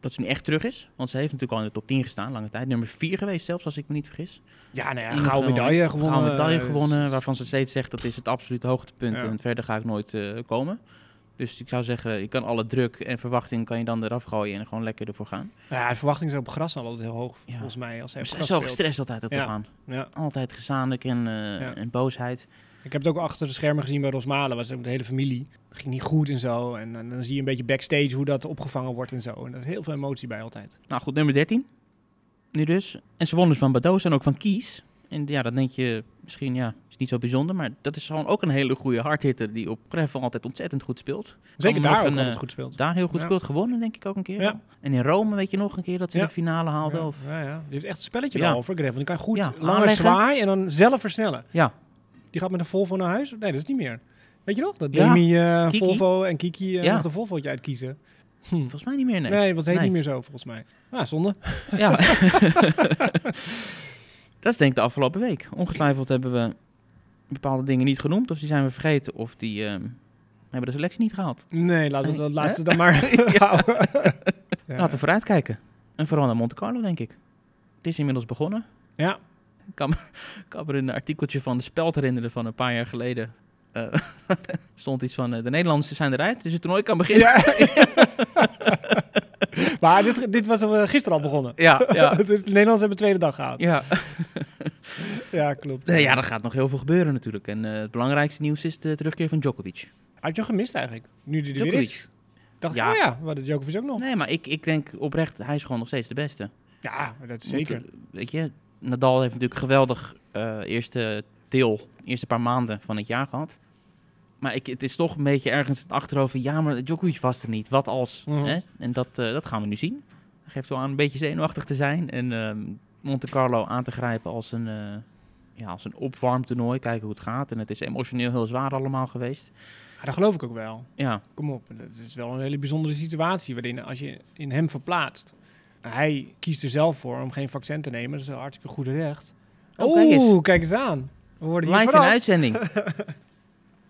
C: dat ze nu echt terug is. Want ze heeft natuurlijk al in de top 10 gestaan, lange tijd. Nummer 4 geweest zelfs, als ik me niet vergis.
A: Ja, nou ja,
C: Enig
A: gouden
C: moment.
A: medaille gewonnen.
C: Gouden medaille
A: eh,
C: gewonnen, waarvan ze steeds zegt dat is het absolute hoogtepunt.
A: Ja.
C: En verder ga ik nooit eh, komen. Dus ik zou zeggen, je kan alle druk en verwachting kan je dan eraf gooien en gewoon lekker ervoor gaan.
A: Nou ja, de verwachtingen zijn op gras al altijd heel hoog,
C: Ja.
A: volgens mij. Als hij op
C: Ze
A: gras
C: is zo
A: speelt.
C: gestrest altijd op de
A: Ja.
C: baan.
A: Ja.
C: Altijd gezamenlijk en, eh,
A: Ja.
C: en boosheid.
A: Ik heb het ook achter de schermen gezien bij Rosmalen. Was ook de hele familie. Dat ging niet goed en zo. En, en dan zie je een beetje backstage hoe dat opgevangen wordt en zo. En daar is heel veel emotie bij altijd.
C: Nou goed, nummer 13. Nu dus. En ze won dus van Badoos en ook van Kies. En ja, dan denk je misschien, ja, is niet zo bijzonder. Maar dat is gewoon ook een hele goede hardhitter die op gravel altijd ontzettend goed speelt.
A: Zeker
C: hem
A: daar
C: nog
A: ook
C: een,
A: altijd
C: eh,
A: goed speelt.
C: Daar heel goed
A: Ja.
C: speelt. Gewonnen denk ik ook een keer.
A: Ja.
C: al. En in Rome weet je nog een keer dat ze
A: Ja.
C: de finale haalden.
A: ja.
C: Of,
A: Ja, ja. Die heeft echt een spelletje
C: Ja.
A: ja. over Gravel. Die kan goed
C: Ja,
A: langer
C: aanleggen.
A: zwaaien en dan zelf versnellen.
C: ja.
A: Die gaat met een Volvo naar huis. Nee, dat is niet meer. Weet je nog? Dat
C: Ja.
A: Demi eh,
C: Kiki.
A: Volvo en Kiki eh,
C: Ja.
A: nog de Volvootje uitkiezen.
C: volgens mij niet meer. Nee.
A: Nee, want het heet
C: Nee.
A: niet meer zo volgens mij. Nou, zonde.
C: Ja. dat is denk ik de afgelopen week. Ongetwijfeld hebben we bepaalde dingen niet genoemd. Of die zijn we vergeten. Of die ehm, hebben de selectie niet gehaald.
A: Nee, laten we
C: Nee.
A: dat laatste dan maar houden. Ja.
C: Laten we vooruitkijken. En vooral naar Monte Carlo, denk ik. Het is inmiddels begonnen.
A: Ja.
C: Ik kan, me- ik kan me een artikeltje van de Speld herinneren van een paar jaar geleden. Eh, stond iets van, eh, de Nederlanders zijn eruit, dus het toernooi kan beginnen.
A: Ja. maar dit, dit was eh, gisteren al begonnen.
C: Ja, ja.
A: dus de Nederlanders hebben de tweede dag gehaald.
C: ja.
A: Ja, klopt.
C: Nee, ja, er gaat nog heel veel gebeuren natuurlijk. En eh, het belangrijkste nieuws is de terugkeer van Djokovic.
A: Had je hem gemist eigenlijk? Nu die er weer
C: Djokovic.
A: is. Dacht ik,
C: Ja.
A: oh ja, we hadden Djokovic ook nog.
C: Nee, maar ik, ik denk oprecht, hij is gewoon nog steeds de beste.
A: Ja, dat is zeker.
C: Want, eh, weet je, Nadal heeft natuurlijk een geweldig eh, eerste deel, eerste paar maanden van het jaar gehad. Maar ik, het is toch een beetje ergens het achterhoofd van, ja, maar Djokovic was er niet. Wat als?
A: Mhm.
C: Hè? En dat, eh, dat gaan we nu zien. Hij geeft wel aan een beetje zenuwachtig te zijn. En ehm, Monte Carlo aan te grijpen als een, eh ja, als een opwarmtoernooi. Kijken hoe het gaat. En het is emotioneel heel zwaar allemaal geweest.
A: Ja, dat geloof ik ook wel.
C: Ja,
A: Kom op, dat is wel een hele bijzondere situatie waarin als je in hem verplaatst. Hij kiest er zelf voor om geen vaccin te nemen. Dat is een hartstikke goede recht.
C: Oh, kijk eens.
A: Oeh, kijk eens aan. We worden hier
C: live in
A: verrast.
C: uitzending.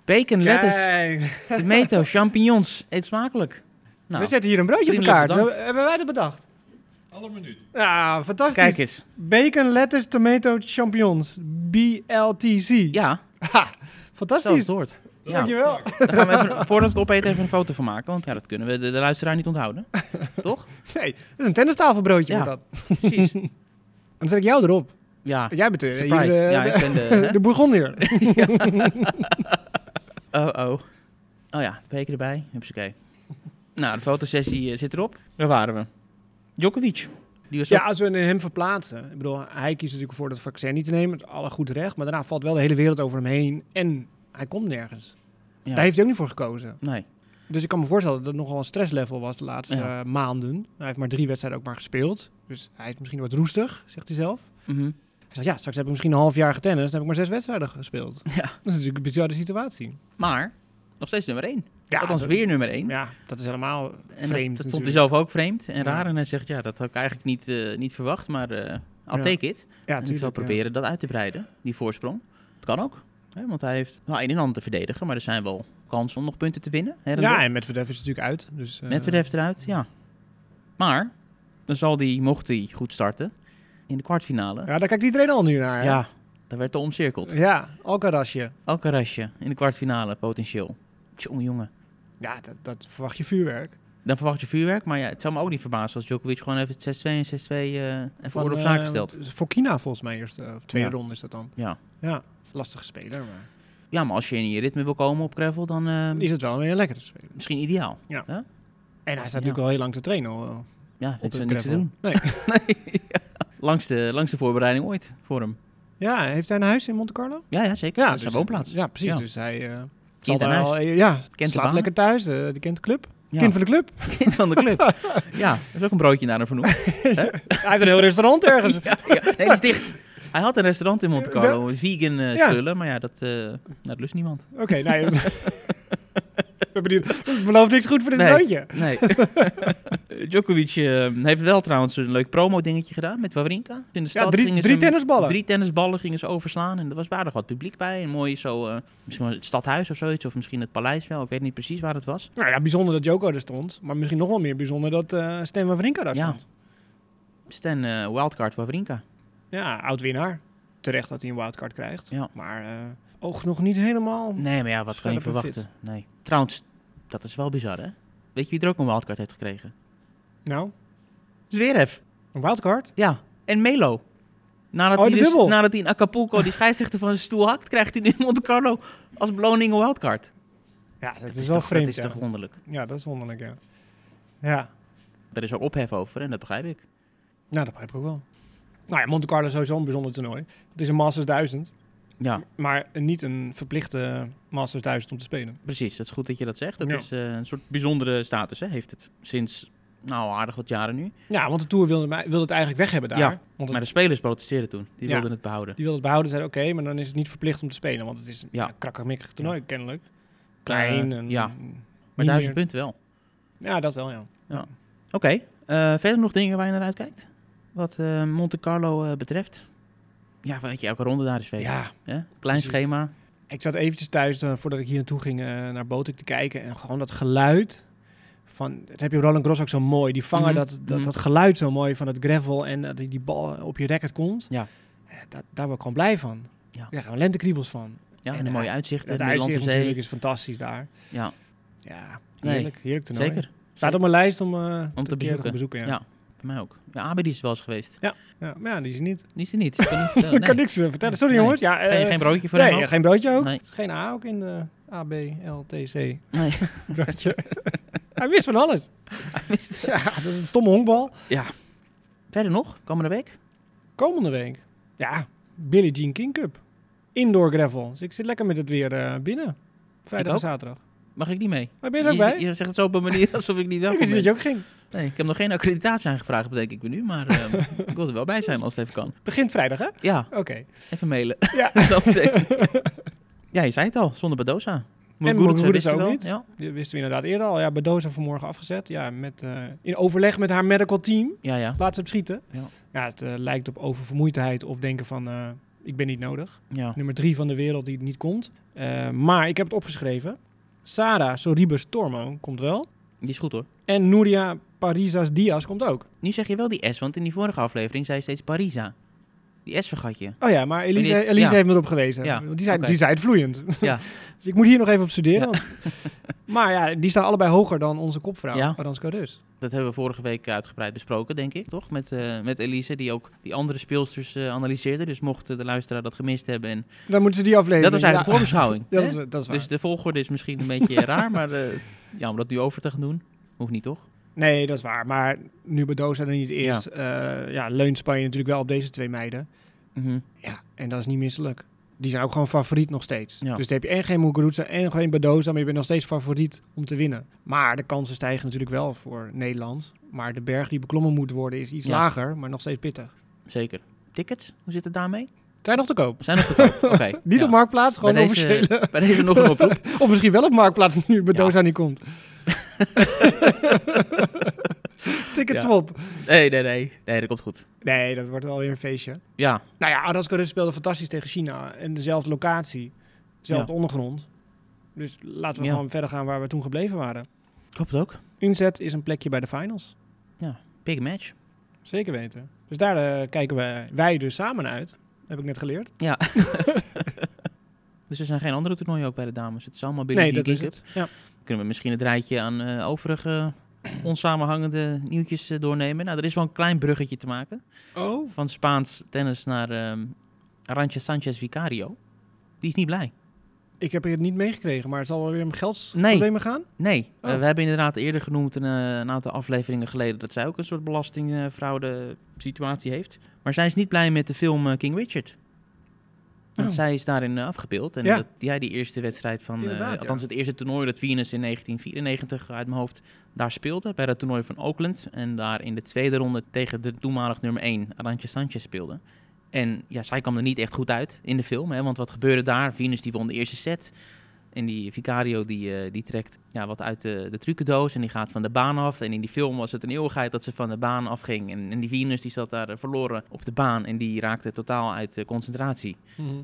C: Bacon, lettuce,
A: Kijk,
C: tomato, champignons. Eet smakelijk. Nou,
A: we zetten hier een broodje op de
C: vriendelijk
A: kaart.
C: bedankt.
A: Hebben- Hebben wij dat bedacht?
D: Alle minuut.
A: Ja, fantastisch.
C: kijk eens.
A: Bacon, lettuce, tomato, champignons. BLTC.
C: Ja, zo is
A: Fantastisch.
C: het woord. Ja,
A: Dankjewel.
C: daar gaan we even, voordat we het opeten even een foto van maken. Want ja, dat kunnen we de, de luisteraar niet onthouden. Toch?
A: Nee, dat is een tennistafelbroodje
C: Ja.
A: wordt dat.
C: Precies.
A: Dan zet ik jou erop.
C: Ja,
A: Jij bent de,
C: surprise.
A: hier de,
C: ja,
A: de,
C: ik ben de... hè?
A: de Bourgondier.
C: Oh, oh. Oh ja, beker erbij. Hupsakee. Nou, de fotosessie eh, zit erop. Daar waren we. Djokovic. Die was
A: Ja,
C: ook-
A: als we hem verplaatsen. Ik bedoel, hij kiest natuurlijk ervoor dat vaccin niet te nemen. Het is alle goed recht. Maar daarna valt wel de hele wereld over hem heen. En hij komt nergens.
C: Ja.
A: Daar heeft hij ook niet voor gekozen.
C: Nee.
A: Dus ik kan me voorstellen dat het nogal een stresslevel was de laatste
C: Ja.
A: eh, maanden. Hij heeft maar drie wedstrijden ook maar gespeeld. Dus hij is misschien wat roestig, zegt hij zelf.
C: Mhm.
A: Hij zegt, ja, straks heb ik misschien een half jaar getennist. Dan heb ik maar zes wedstrijden gespeeld.
C: Ja.
A: Dat is natuurlijk een bizarre situatie.
C: Maar, nog steeds nummer 1.
A: Ja,
C: Althans,
A: dat-
C: weer nummer 1.
A: Ja, dat is helemaal
C: en dat-
A: vreemd
C: dat, vond hij
A: natuurlijk.
C: zelf ook vreemd en
A: Ja.
C: raar. En hij zegt, ja, dat had ik eigenlijk niet, eh, niet verwacht. Maar eh I'll
A: Ja.
C: take it.
A: Ja,
C: En ik zal
A: tuurlijk, ja.
C: proberen dat uit te breiden, die voorsprong. Dat kan ook. Hè? Want hij heeft nou, een en ander te verdedigen, maar er zijn wel kansen om nog punten te winnen. Hè,
A: Ja, en Medvedev is natuurlijk uit. Dus, eh,
C: Medvedev eruit, ja. Maar, dan zal die, mocht hij goed starten, in de kwartfinale... Ja,
A: Ja, daar kijkt iedereen al nu naar. hè?
C: daar werd er omcirkeld.
A: Ja, Alcarazje.
C: Ook een rasje in de kwartfinale, potentieel. Tjonge, jongen.
A: Ja, dat, dat verwacht je vuurwerk.
C: Dan verwacht je vuurwerk, maar ja, het zou me ook niet verbazen als Djokovic gewoon even 6-2 en 6-2 eh even
A: Van,
C: orde op zaken
A: eh,
C: stelt.
A: Voor China volgens mij eerst. eh, of tweede
C: Ja.
A: ronde is dat dan.
C: Ja.
A: Ja, lastige speler. Maar
C: Ja, maar als je in je ritme wil komen op gravel, dan eh,
A: is het wel weer een lekkere speler.
C: misschien ideaal.
A: En hij staat
C: Ja.
A: natuurlijk al heel lang te trainen. hoor.
C: Ja,
A: op
C: ik zou
A: het
C: niks te
A: gravel.
C: doen.
A: Nee.
C: Langste, langste voorbereiding ooit voor hem.
A: Ja, heeft hij een huis in Monte Carlo?
C: Ja, ja zeker. Ja, dat is
A: dus-
C: zijn woonplaats.
A: Ja, precies.
C: Ja.
A: Dus hij eh, zal
C: Kind aan
A: daar
C: huis.
A: al- ja,
C: de
A: slaapt
C: baan.
A: lekker thuis. eh, die kent de club.
C: Ja,
A: Kind van de club.
C: kind van de club. ja, er is ook een broodje naar hem vernoemd.
A: Hij heeft een heel restaurant ergens.
C: ja, ja. Nee, die is dicht. Hij had een restaurant in Monte Carlo, een vegan eh
A: Ja.
C: spullen, maar ja, dat, eh nou, dat lust niemand.
A: Oké, nee. Ik ben benieuwd. Het belooft niks goed voor dit
C: Nee.
A: broodje.
C: Nee. Djokovic eh, heeft wel trouwens een leuk promo-dingetje gedaan met Wawrinka. In de stad
A: Ja, drie,
C: gingen
A: drie
C: ze hem-
A: tennisballen.
C: Drie tennisballen gingen ze overslaan en er was aardig wat publiek bij. En mooi zo, eh, misschien was het stadhuis of zoiets, of misschien het paleis wel. Ik weet niet precies waar het was.
A: Nou ja, bijzonder dat Joko er stond. Maar misschien nog wel meer bijzonder dat eh Stan Wawrinka daar
C: Ja.
A: stond.
C: Stan eh, Wildcard Wawrinka.
A: Ja, oud-winnaar. Terecht dat hij een wildcard krijgt.
C: Ja.
A: Maar eh oog nog niet helemaal.
C: Nee, maar ja, wat kan je
A: Scherpe fit.
C: verwachten? Nee. Trouwens, dat is wel bizar, hè? Weet je wie er ook een wildcard heeft gekregen?
A: Nou,
C: Zverev.
A: een wildcard?
C: Ja. En Melo. Nadat,
A: Oh,
C: hij
A: de
C: dus,
A: dubbel.
C: nadat hij in Acapulco die scheidsrechter van zijn stoel hakt, krijgt hij nu in Monte Carlo als beloning een wildcard.
A: Ja, dat, is,
C: is
A: wel
C: toch-
A: vreemd.
C: Dat is
A: ja.
C: toch wonderlijk.
A: ja, dat is wonderlijk, ja. Ja,
C: Daar is ook ophef over en dat begrijp ik.
A: nou dat begrijp ik ook wel. Nou ja, Monte Carlo is sowieso een bijzonder toernooi. Het is een Masters 1000,
C: Ja,
A: maar niet een verplichte Masters 1000 om te spelen.
C: precies. Dat is goed dat je dat zegt. Dat
A: Ja.
C: is eh, een soort bijzondere status, hè, heeft het. Sinds, nou, aardig wat jaren nu.
A: Ja, want de Tour wilde, hem- wilde het eigenlijk weg hebben daar.
C: Ja,
A: want het-
C: Maar de spelers protesteerden toen. Die
A: Ja.
C: wilden het behouden.
A: die wilde het behouden. Zeiden oké, maar dan is het niet verplicht om te spelen. Want het is een
C: Ja.
A: ja. krakkemikkig toernooi, kennelijk.
C: Klein,
A: Klein en...
C: ja.
A: niet
C: Maar duizend
A: meer-
C: punten wel.
A: Ja, dat wel, ja.
C: Oké, eh, verder nog dingen waar je naar uitkijkt? Wat eh, Monte Carlo eh, betreft? Ja, weet je, elke ronde daar is feest.
A: Ja,
C: hè? Klein
A: precies.
C: schema.
A: ik zat eventjes thuis, eh, voordat ik hier naartoe ging, eh, naar Botik te kijken. En gewoon dat geluid van... Dat heb je op Roland Gros ook zo mooi. Die vanger,
C: Mhm,
A: dat, dat,
C: mhm.
A: dat geluid zo mooi van het gravel en dat die, die bal eh, op je racket komt.
C: Ja.
A: Eh, dat, daar word ik gewoon blij van.
C: Ja.
A: Ja. Daar gaan we lentekriebels van.
C: Ja, en
A: En,
C: een
A: eh,
C: mooie uitzicht.
A: Het
C: de Middellandse
A: uitzicht
C: Zee.
A: natuurlijk is fantastisch daar.
C: Ja,
A: Ja,
C: Nee,
A: heerlijk, heerlijk toernooi.
C: zeker.
A: Staat op mijn lijst om, eh, een keer te
C: bezoeken.
A: bezoeken ja.
C: Ja. Bij mij ook. Ja, Abedi is wel eens geweest.
A: Ja, maar ja, die is er niet.
C: Die is er niet. Ik kan, niet vertellen,
A: Ik kan
C: nee.
A: niks eh, vertellen. Sorry
C: Nee.
A: jongens. Ja, eh,
C: geen, geen broodje voor
A: nee,
C: hem ook?
A: geen broodje ook.
C: Nee.
A: Geen A ook in de A, B, L, T, C
C: Nee.
A: broodje. Hij wist van alles. Ja, dat is een stomme honkbal.
C: Verder nog, komende week.
A: Komende week. Ja, Billie Jean King Cup. Indoor gravel. Dus ik zit lekker met het weer eh, binnen. Vrijdag en
C: ook.
A: zaterdag.
C: Mag ik niet mee?
A: Maar ben je er ook
C: je,
A: bij?
C: je zegt het zo op een manier alsof ik niet
A: ik
C: welkom
A: wist
C: ben.
A: dat je ook ging.
C: Nee, ik heb nog geen accreditatie aangevraagd, bedenk ik me nu. Maar ehm, ik wil er wel bij zijn als het even kan.
A: Begint vrijdag, hè?
C: Ja,
A: Oké.
C: even mailen.
A: Ja.
C: Zo meteen. ja, je zei het al. Zonder Badosa. Muguruza
A: Muguruza
C: wist je
A: ook
C: wel,
A: niet.
C: Ja.
A: Die wisten we inderdaad eerder al. Ja, Badoza vanmorgen afgezet. Ja, met, eh, in overleg met haar medical team.
C: ja, ja.
A: Laat ze op schieten.
C: Ja.
A: Ja, het eh, lijkt op oververmoeidheid of denken van eh, ik ben niet nodig.
C: ja.
A: Nummer drie van de wereld die niet komt. Eh, maar ik heb het opgeschreven. Sarah Soribus Tormo komt wel.
C: Die is goed hoor.
A: En Nuria Parisas Diaz komt ook.
C: Nu zeg je wel die S, want in die vorige aflevering zei je steeds Parisa. Die S vergat je.
A: Oh ja, maar Elise,
C: Maar die-
A: Elise
C: ja.
A: heeft me erop gewezen.
C: Ja,
A: Want die zei,
C: oké.
A: die zei het vloeiend.
C: Ja.
A: dus ik moet hier nog even op studeren.
C: Ja.
A: want- maar ja, die staan allebei hoger dan onze kopvrouw,
C: Ja.
A: Aranska Rus.
C: Dat hebben we vorige week uitgebreid besproken, denk ik, toch? Met, eh, met Elise, die ook die andere speelsters eh, analyseerde. Dus mocht eh, de luisteraar dat gemist hebben. En...
A: Dan moeten ze die aflevering.
C: Dat was eigenlijk de
A: ja.
C: voorbeschouwing.
A: dat
C: hè?
A: is, dat is waar.
C: Dus de volgorde is misschien een beetje raar, maar eh, ja, om dat nu over te gaan doen, hoeft niet toch?
A: Nee, dat is waar. Maar nu Badoza er niet is, ja. ja, leunt Spanje natuurlijk wel op deze twee meiden. Ja, en dat is niet misselijk. Die zijn ook gewoon favoriet nog steeds.
C: Ja.
A: Dus dan heb je en geen Muguruza en geen Badoza, maar je bent nog steeds favoriet om te winnen. Maar de kansen stijgen natuurlijk wel voor Nederland. Maar de berg die beklommen moet worden is iets
C: Ja.
A: lager, maar nog steeds pittig.
C: Zeker. Tickets, hoe zit het daarmee?
A: Zijn nog te koop.
C: Zijn nog te koop? Oké.
A: Niet
C: ja.
A: op Marktplaats, gewoon
C: bij
A: officieel.
C: deze, bij deze nog een oproep.
A: Of misschien wel op Marktplaats nu Badoza niet komt. Tickets
C: Ja.
A: op.
C: Nee, nee, nee. Nee, dat komt goed.
A: Nee, dat wordt wel weer een feestje.
C: Ja,
A: Nou ja, Arasca Rus speelde fantastisch tegen China. En dezelfde locatie, dezelfde ondergrond. Dus laten we
C: Ja.
A: gewoon verder gaan waar we toen gebleven waren.
C: klopt ook.
A: Inzet is een plekje bij de finals.
C: Big match.
A: Zeker weten. Dus daar eh, kijken wij, wij dus samen naar uit. Heb ik net geleerd.
C: Dus er zijn geen andere toernooien ook bij de dames. Het is allemaal binnen
A: Nee,
C: die
A: dat is
C: King
A: het. Ja.
C: Cup. Kunnen we misschien het rijtje aan eh, overige onsamenhangende nieuwtjes eh, doornemen? Nou, er is wel een klein bruggetje te maken.
A: Oh.
C: Van Spaans tennis naar ehm Arantxa Sanchez Vicario. Die is niet blij.
A: Ik heb het niet meegekregen, maar het zal wel weer om
C: Nee.
A: geldsproblemen gaan?
C: Nee,
A: Oh.
C: eh, we hebben inderdaad eerder genoemd een, eh, een aantal afleveringen geleden dat zij ook een soort belastingfraude situatie heeft. Maar zij is niet blij met de film eh, King Richard. Want
A: Oh.
C: zij is daarin eh, afgebeeld. En
A: Ja.
C: dat, ja, die eerste wedstrijd van... eh,
A: Inderdaad, ja.
C: althans, het eerste toernooi dat Venus in 1994 uit mijn hoofd daar speelde. Bij dat toernooi van Oakland. En daar in de tweede ronde tegen de toenmalig nummer 1, Arantje Sanchez, speelde. En ja, zij kwam er niet echt goed uit in de film. Hè, want wat gebeurde daar? Venus die won de eerste set. En die Vicario die, eh, die trekt ja, wat uit de, de trucendoos en die gaat van de baan af. En in die film was het een eeuwigheid dat ze van de baan afging. En, en die Venus die zat daar eh, verloren op de baan en die raakte totaal uit eh, concentratie.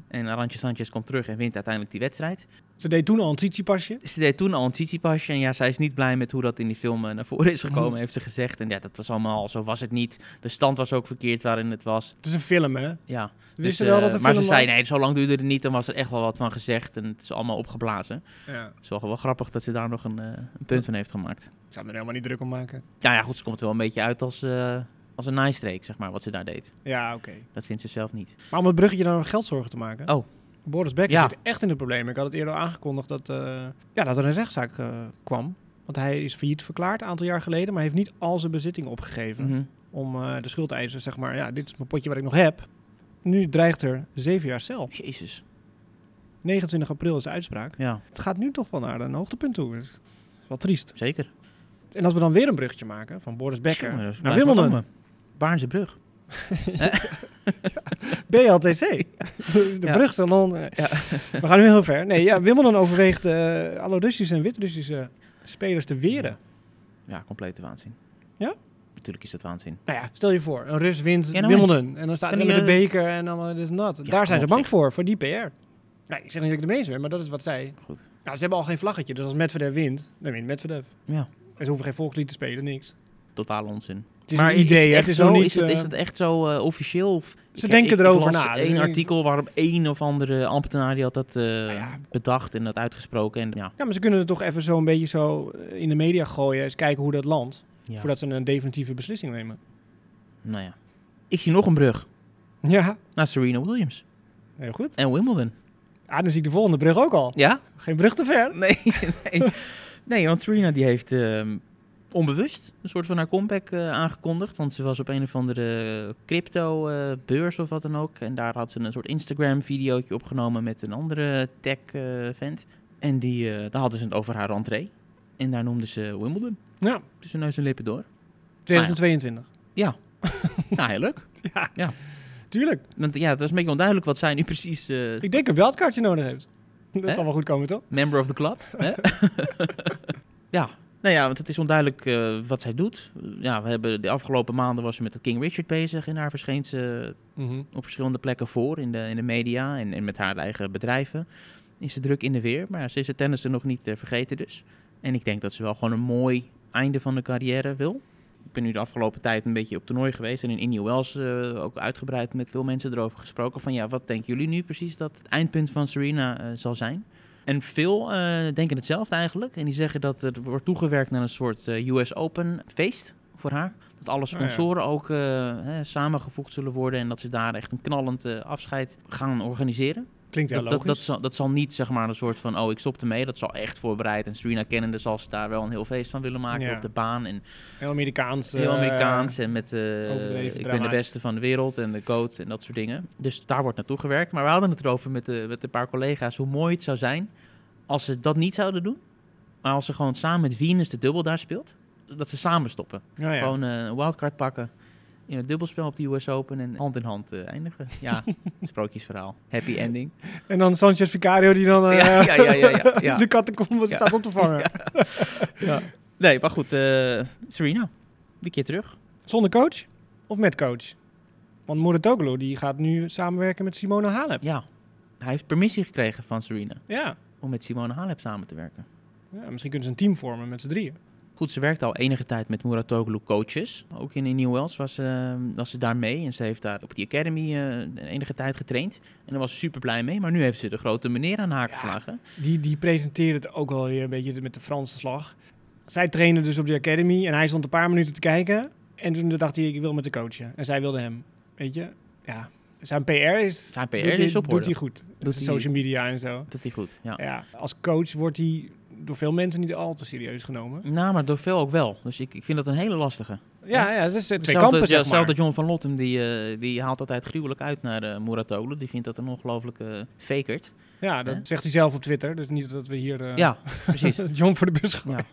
C: En Arantje Sanchez komt terug en wint uiteindelijk die wedstrijd.
A: Ze deed toen al een titiepasje.
C: Ze deed toen al een titiepasje en ja, zij is niet blij met hoe dat in die film eh, naar voren is gekomen,
A: Mhm.
C: heeft ze gezegd. En ja, dat was allemaal, zo was het niet. De stand was ook verkeerd waarin het was.
A: Het is een film, hè?
C: Ja,
A: Wist je
C: eh,
A: wel dat de
C: maar
A: film
C: ze zei,
A: was?
C: nee, zo lang duurde het niet. Dan was er echt wel wat van gezegd en het is allemaal opgeblazen.
A: Ja.
C: Het is wel, wel grappig dat ze daar nog een, eh, een punt van heeft gemaakt.
A: Ik zou me er helemaal niet druk om maken.
C: Nou ja, goed, ze komt er wel een beetje uit als, eh, als een naaistreek, zeg maar, wat ze daar deed.
A: Ja, oké.
C: Dat vindt ze zelf niet.
A: Maar om het bruggetje naar geldzorgen te maken.
C: Oh.
A: Boris Becker
C: Ja.
A: zit echt in de problemen. Ik had het eerder al aangekondigd dat, eh, ja, dat er een rechtszaak eh, kwam. Want hij is failliet verklaard een aantal jaar geleden, maar heeft niet al zijn bezitting opgegeven.
C: Mhm.
A: Om eh, de schuldeisers, zeg maar, ja, dit is mijn potje wat ik nog heb. Nu dreigt er zeven jaar cel.
C: Oh, Jezus.
A: 29 april is de uitspraak.
C: Ja,
A: Het gaat nu toch wel naar een hoogtepunt toe. Dat is wel triest.
C: zeker.
A: En als we dan weer een bruggetje maken van Boris Becker
C: Jongen, dat is-
A: naar
C: blijft maar
A: Wimbledon.
C: komen. Baarnse brug.
A: BLTC. dus de
C: Ja.
A: brug zal dan... eh,
C: Ja.
A: We gaan nu heel ver. Nee, ja, Wimbledon overweegt eh, alle Russische en Wit-Russische spelers te weren.
C: Ja, complete waanzin.
A: Ja?
C: Natuurlijk is dat waanzin.
A: Nou ja, stel je voor, een Rus wint
C: Ja, nou,
A: Wimbledon. En dan staat
C: Kan
A: hij met de
C: die, eh,
A: beker en dan eh, dit en dat. Daar zijn ze
C: op
A: bang
C: zich.
A: voor, voor die PR. Nou, ik zeg niet dat ik ermee eens ben, maar dat is wat zij...
C: Goed.
A: Nou, ze hebben al geen vlaggetje, dus als Medvedev wint, dan wint Medvedev.
C: Ja,
A: En ze hoeven geen volkslied te spelen, niks.
C: totaal onzin.
A: Het is een idee,
C: is
A: hè? het
C: het, echt
A: is
C: zo?
A: nog niet...
C: is, het,
A: eh,
C: is het echt zo eh, officieel? Of,
A: Ze denken erover
C: las
A: na, dus ik
C: één
A: denk-
C: artikel waarop één of andere ambtenaar die had dat eh,
A: ja.
C: bedacht en dat uitgesproken. En, ja,
A: Ja, maar ze kunnen het toch even zo een beetje zo eh, in de media gooien. Eens kijken hoe dat landt,
C: ja.
A: voordat ze een definitieve beslissing nemen.
C: Nou ja. Ik zie nog een brug
A: Ja,
C: naar Serena Williams
A: heel goed.
C: en Wimbledon.
A: Ah, dan zie ik de volgende brug ook al.
C: Ja? Nou
A: Geen brug te ver.
C: Nee, nee. nee want Serena die heeft ehm, onbewust een soort van haar comeback eh, aangekondigd. Want ze was op een of andere crypto-beurs of wat dan ook. En daar had ze een soort Instagram-videootje opgenomen met een andere tech-vent. en die, eh, daar hadden ze het over haar rentree. En daar noemden ze Wimbledon.
A: Ja,
C: Tussen neus en lippen door.
A: 2022.
C: nou, heel leuk.
A: Tuurlijk.
C: Want ja, het was een beetje onduidelijk wat zij nu precies... eh,
A: Ik denk een wildcardje nodig heeft. Dat
C: Hè?
A: zal wel goed komen, toch?
C: Member of the club. hè? ja. Nou ja, want het is onduidelijk eh, wat zij doet. Ja, we hebben de afgelopen maanden was ze met het King Richard bezig. En daar verscheen ze op verschillende plekken voor in de, in de media en, en met haar eigen bedrijven. Is ze druk in de weer. Maar ja, ze is het tennissen nog niet eh, vergeten dus. En ik denk dat ze wel gewoon een mooi einde van de carrière wil. Ik ben nu de afgelopen tijd een beetje op toernooi geweest. En in Indian Wells eh, ook uitgebreid met veel mensen erover gesproken. Van ja, wat denken jullie nu precies dat het eindpunt van Serena eh, zal zijn? En veel eh, denken hetzelfde eigenlijk. En die zeggen dat er wordt toegewerkt naar een soort eh, US Open feest voor haar. Dat alle
A: ja.
C: sponsoren ook eh, hè, samengevoegd zullen worden. En dat ze daar echt een knallend eh, afscheid gaan organiseren.
A: Klinkt heel
C: Dat, dat,
A: logisch.
C: dat, zal, dat zal niet zeg maar een soort van, oh ik stop ermee. Dat zal echt voorbereid. En Serena kennende zal ze daar wel een heel feest van willen maken
A: Ja.
C: op de baan. En
A: heel Amerikaans.
C: heel
A: eh,
C: Amerikaans en met eh,
A: overdreven
C: ik ben de
A: dramatisch.
C: beste van de wereld en de goat en dat soort dingen. Dus daar wordt naartoe gewerkt. Maar we hadden het erover met, de, met een paar collega's hoe mooi het zou zijn als ze dat niet zouden doen. Maar als ze gewoon samen met Venus de dubbel daar speelt. Dat ze samen stoppen.
A: nou ja.
C: Gewoon eh, een wildcard pakken. In het dubbelspel op de US Open en hand in hand eh, eindigen. Ja, sprookjesverhaal. Happy ending.
A: En dan Sanchez Vicario die dan eh
C: Ja, ja, ja, ja, ja, ja.
A: de catacombe
C: Ja.
A: staat op te vangen.
C: Nee, maar goed. eh, Serena, die keer terug.
A: Zonder coach of met coach? Want Muratoglu die gaat nu samenwerken met Simone Halep.
C: Ja, hij heeft permissie gekregen van Serena
A: Ja.
C: om met Simone Halep samen te werken.
A: ja. Misschien kunnen ze een team vormen met z'n drieën.
C: Goed, ze werkt al enige tijd met Muratoglu coaches. Ook in, in New Wales was, ze- was ze daar mee. En ze heeft daar op die academy eh, een enige tijd getraind. En daar was ze super blij mee. Maar nu heeft ze de grote meneer aan haar
A: Ja.
C: geslagen.
A: Die, die presenteerde het ook wel weer een beetje met de Franse slag. Zij trainde dus op de academy en hij stond een paar minuten te kijken. En toen dacht hij, ik wil met de coachen. En zij wilde hem. Weet je? Ja. Zijn PR is...
C: Zijn PR
A: doet hij-
C: is op
A: Doet
C: orde.
A: hij goed.
C: Doet hij-
A: Social media en zo.
C: Dat is goed, ja.
A: Ja. Als coach wordt hij door veel mensen niet al te serieus genomen.
C: Nou, maar door veel ook wel. Dus ik, ik vind dat een hele lastige.
A: Ja, ja, het is eh, twee
C: Hetzelfde-
A: kampen,
C: ja,
A: zeg maar.
C: hetzelfde John van Lottem, die, eh, die haalt altijd gruwelijk uit naar eh Muratoglu. Die vindt dat een eh, ongelofelijke fakert.
A: Ja, dat
C: Hè?
A: zegt hij zelf op Twitter. Dus niet dat we hier eh,
C: Ja, precies.
A: John voor de bus gaan.
C: Ja.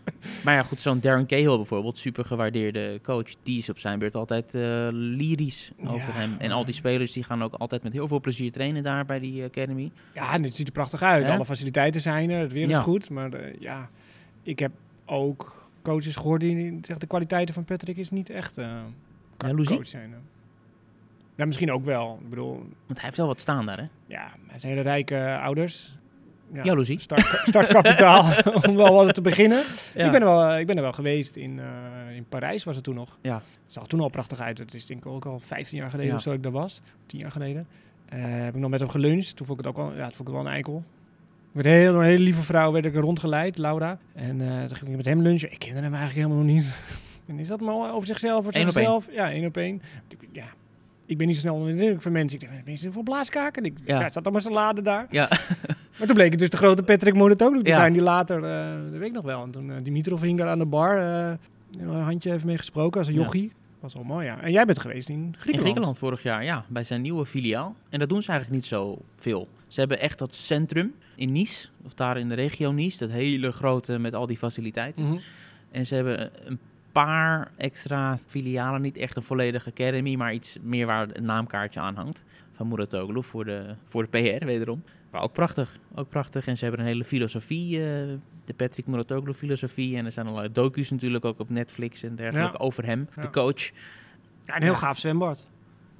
C: Maar ja, goed, zo'n Darren Cahill bijvoorbeeld, super gewaardeerde coach, die is op zijn beurt altijd eh, lyrisch over
A: Ja,
C: hem. En al die spelers die gaan ook altijd met heel veel plezier trainen daar bij die eh, academy.
A: Ja, en het ziet er prachtig uit.
C: Hè?
A: Alle faciliteiten zijn er. Het weer is
C: Ja.
A: goed. Maar eh, ja, ik heb ook coaches gehoord die zeggen... de kwaliteiten van Patrick is niet echt eh
C: Jaloezie?
A: coach zijn. eh. Ja, misschien ook wel. Ik bedoel,
C: Want hij heeft wel wat staan daar, hè?
A: ja, hij heeft hele rijke eh, ouders. Ja.
C: Jaloezie.
A: Start, startkapitaal om wel wat te beginnen.
C: Ja.
A: Ik, ben er wel, eh, ik ben er wel geweest. In, eh, in Parijs was het toen nog.
C: Ja.
A: Het zag toen al prachtig uit. Het is denk ik ook al 15 jaar geleden
C: Ja.
A: of zo dat ik daar was. 10 jaar geleden. Eh, heb ik nog met hem geluncht. Toen vond ik het ook al, ja, toen vond ik het wel een eikel. Met een heel, door een hele lieve vrouw werd ik er rondgeleid, Laura. En eh toen ging ik met hem lunchen. Ik kende hem eigenlijk helemaal nog niet. en is dat maar over zichzelf? Over
C: Eén op één.
A: zichzelf? Ja, één op één. Ik- Ja, ik ben niet zo snel onder de indruk van mensen. Ik dacht, mensen voor blaaskaken. Ik,
C: Ja.
A: ja. het staat allemaal salade daar.
C: Ja.
A: maar toen bleek het dus de grote Patrick Monotoglu te
C: Ja.
A: zijn, die later, eh dat weet ik nog wel. En toen eh, Dimitrov hing daar aan de bar, eh, een handje even mee gesproken als een
C: Ja.
A: jochie. Was wel mooi, ja. En jij bent geweest in Griekenland.
C: In Griekenland vorig jaar, ja, bij zijn nieuwe filiaal. En dat doen ze eigenlijk niet zo veel. Ze hebben echt dat centrum in Nice, of daar in de regio Nice, dat hele grote met al die faciliteiten.
A: Mhm.
C: En ze hebben een paar extra filialen, niet echt een volledige academy, maar iets meer waar een naamkaartje aan hangt. Van Muratoglu voor de, voor de PR, wederom. Maar ook prachtig, ook prachtig. En ze hebben een hele filosofie, eh, de Patrick Muratoglu filosofie. En er zijn allerlei docu's natuurlijk ook op Netflix en dergelijke over hem,
A: Ja.
C: de coach.
A: Ja, een heel
C: Ja.
A: gaaf zwembad.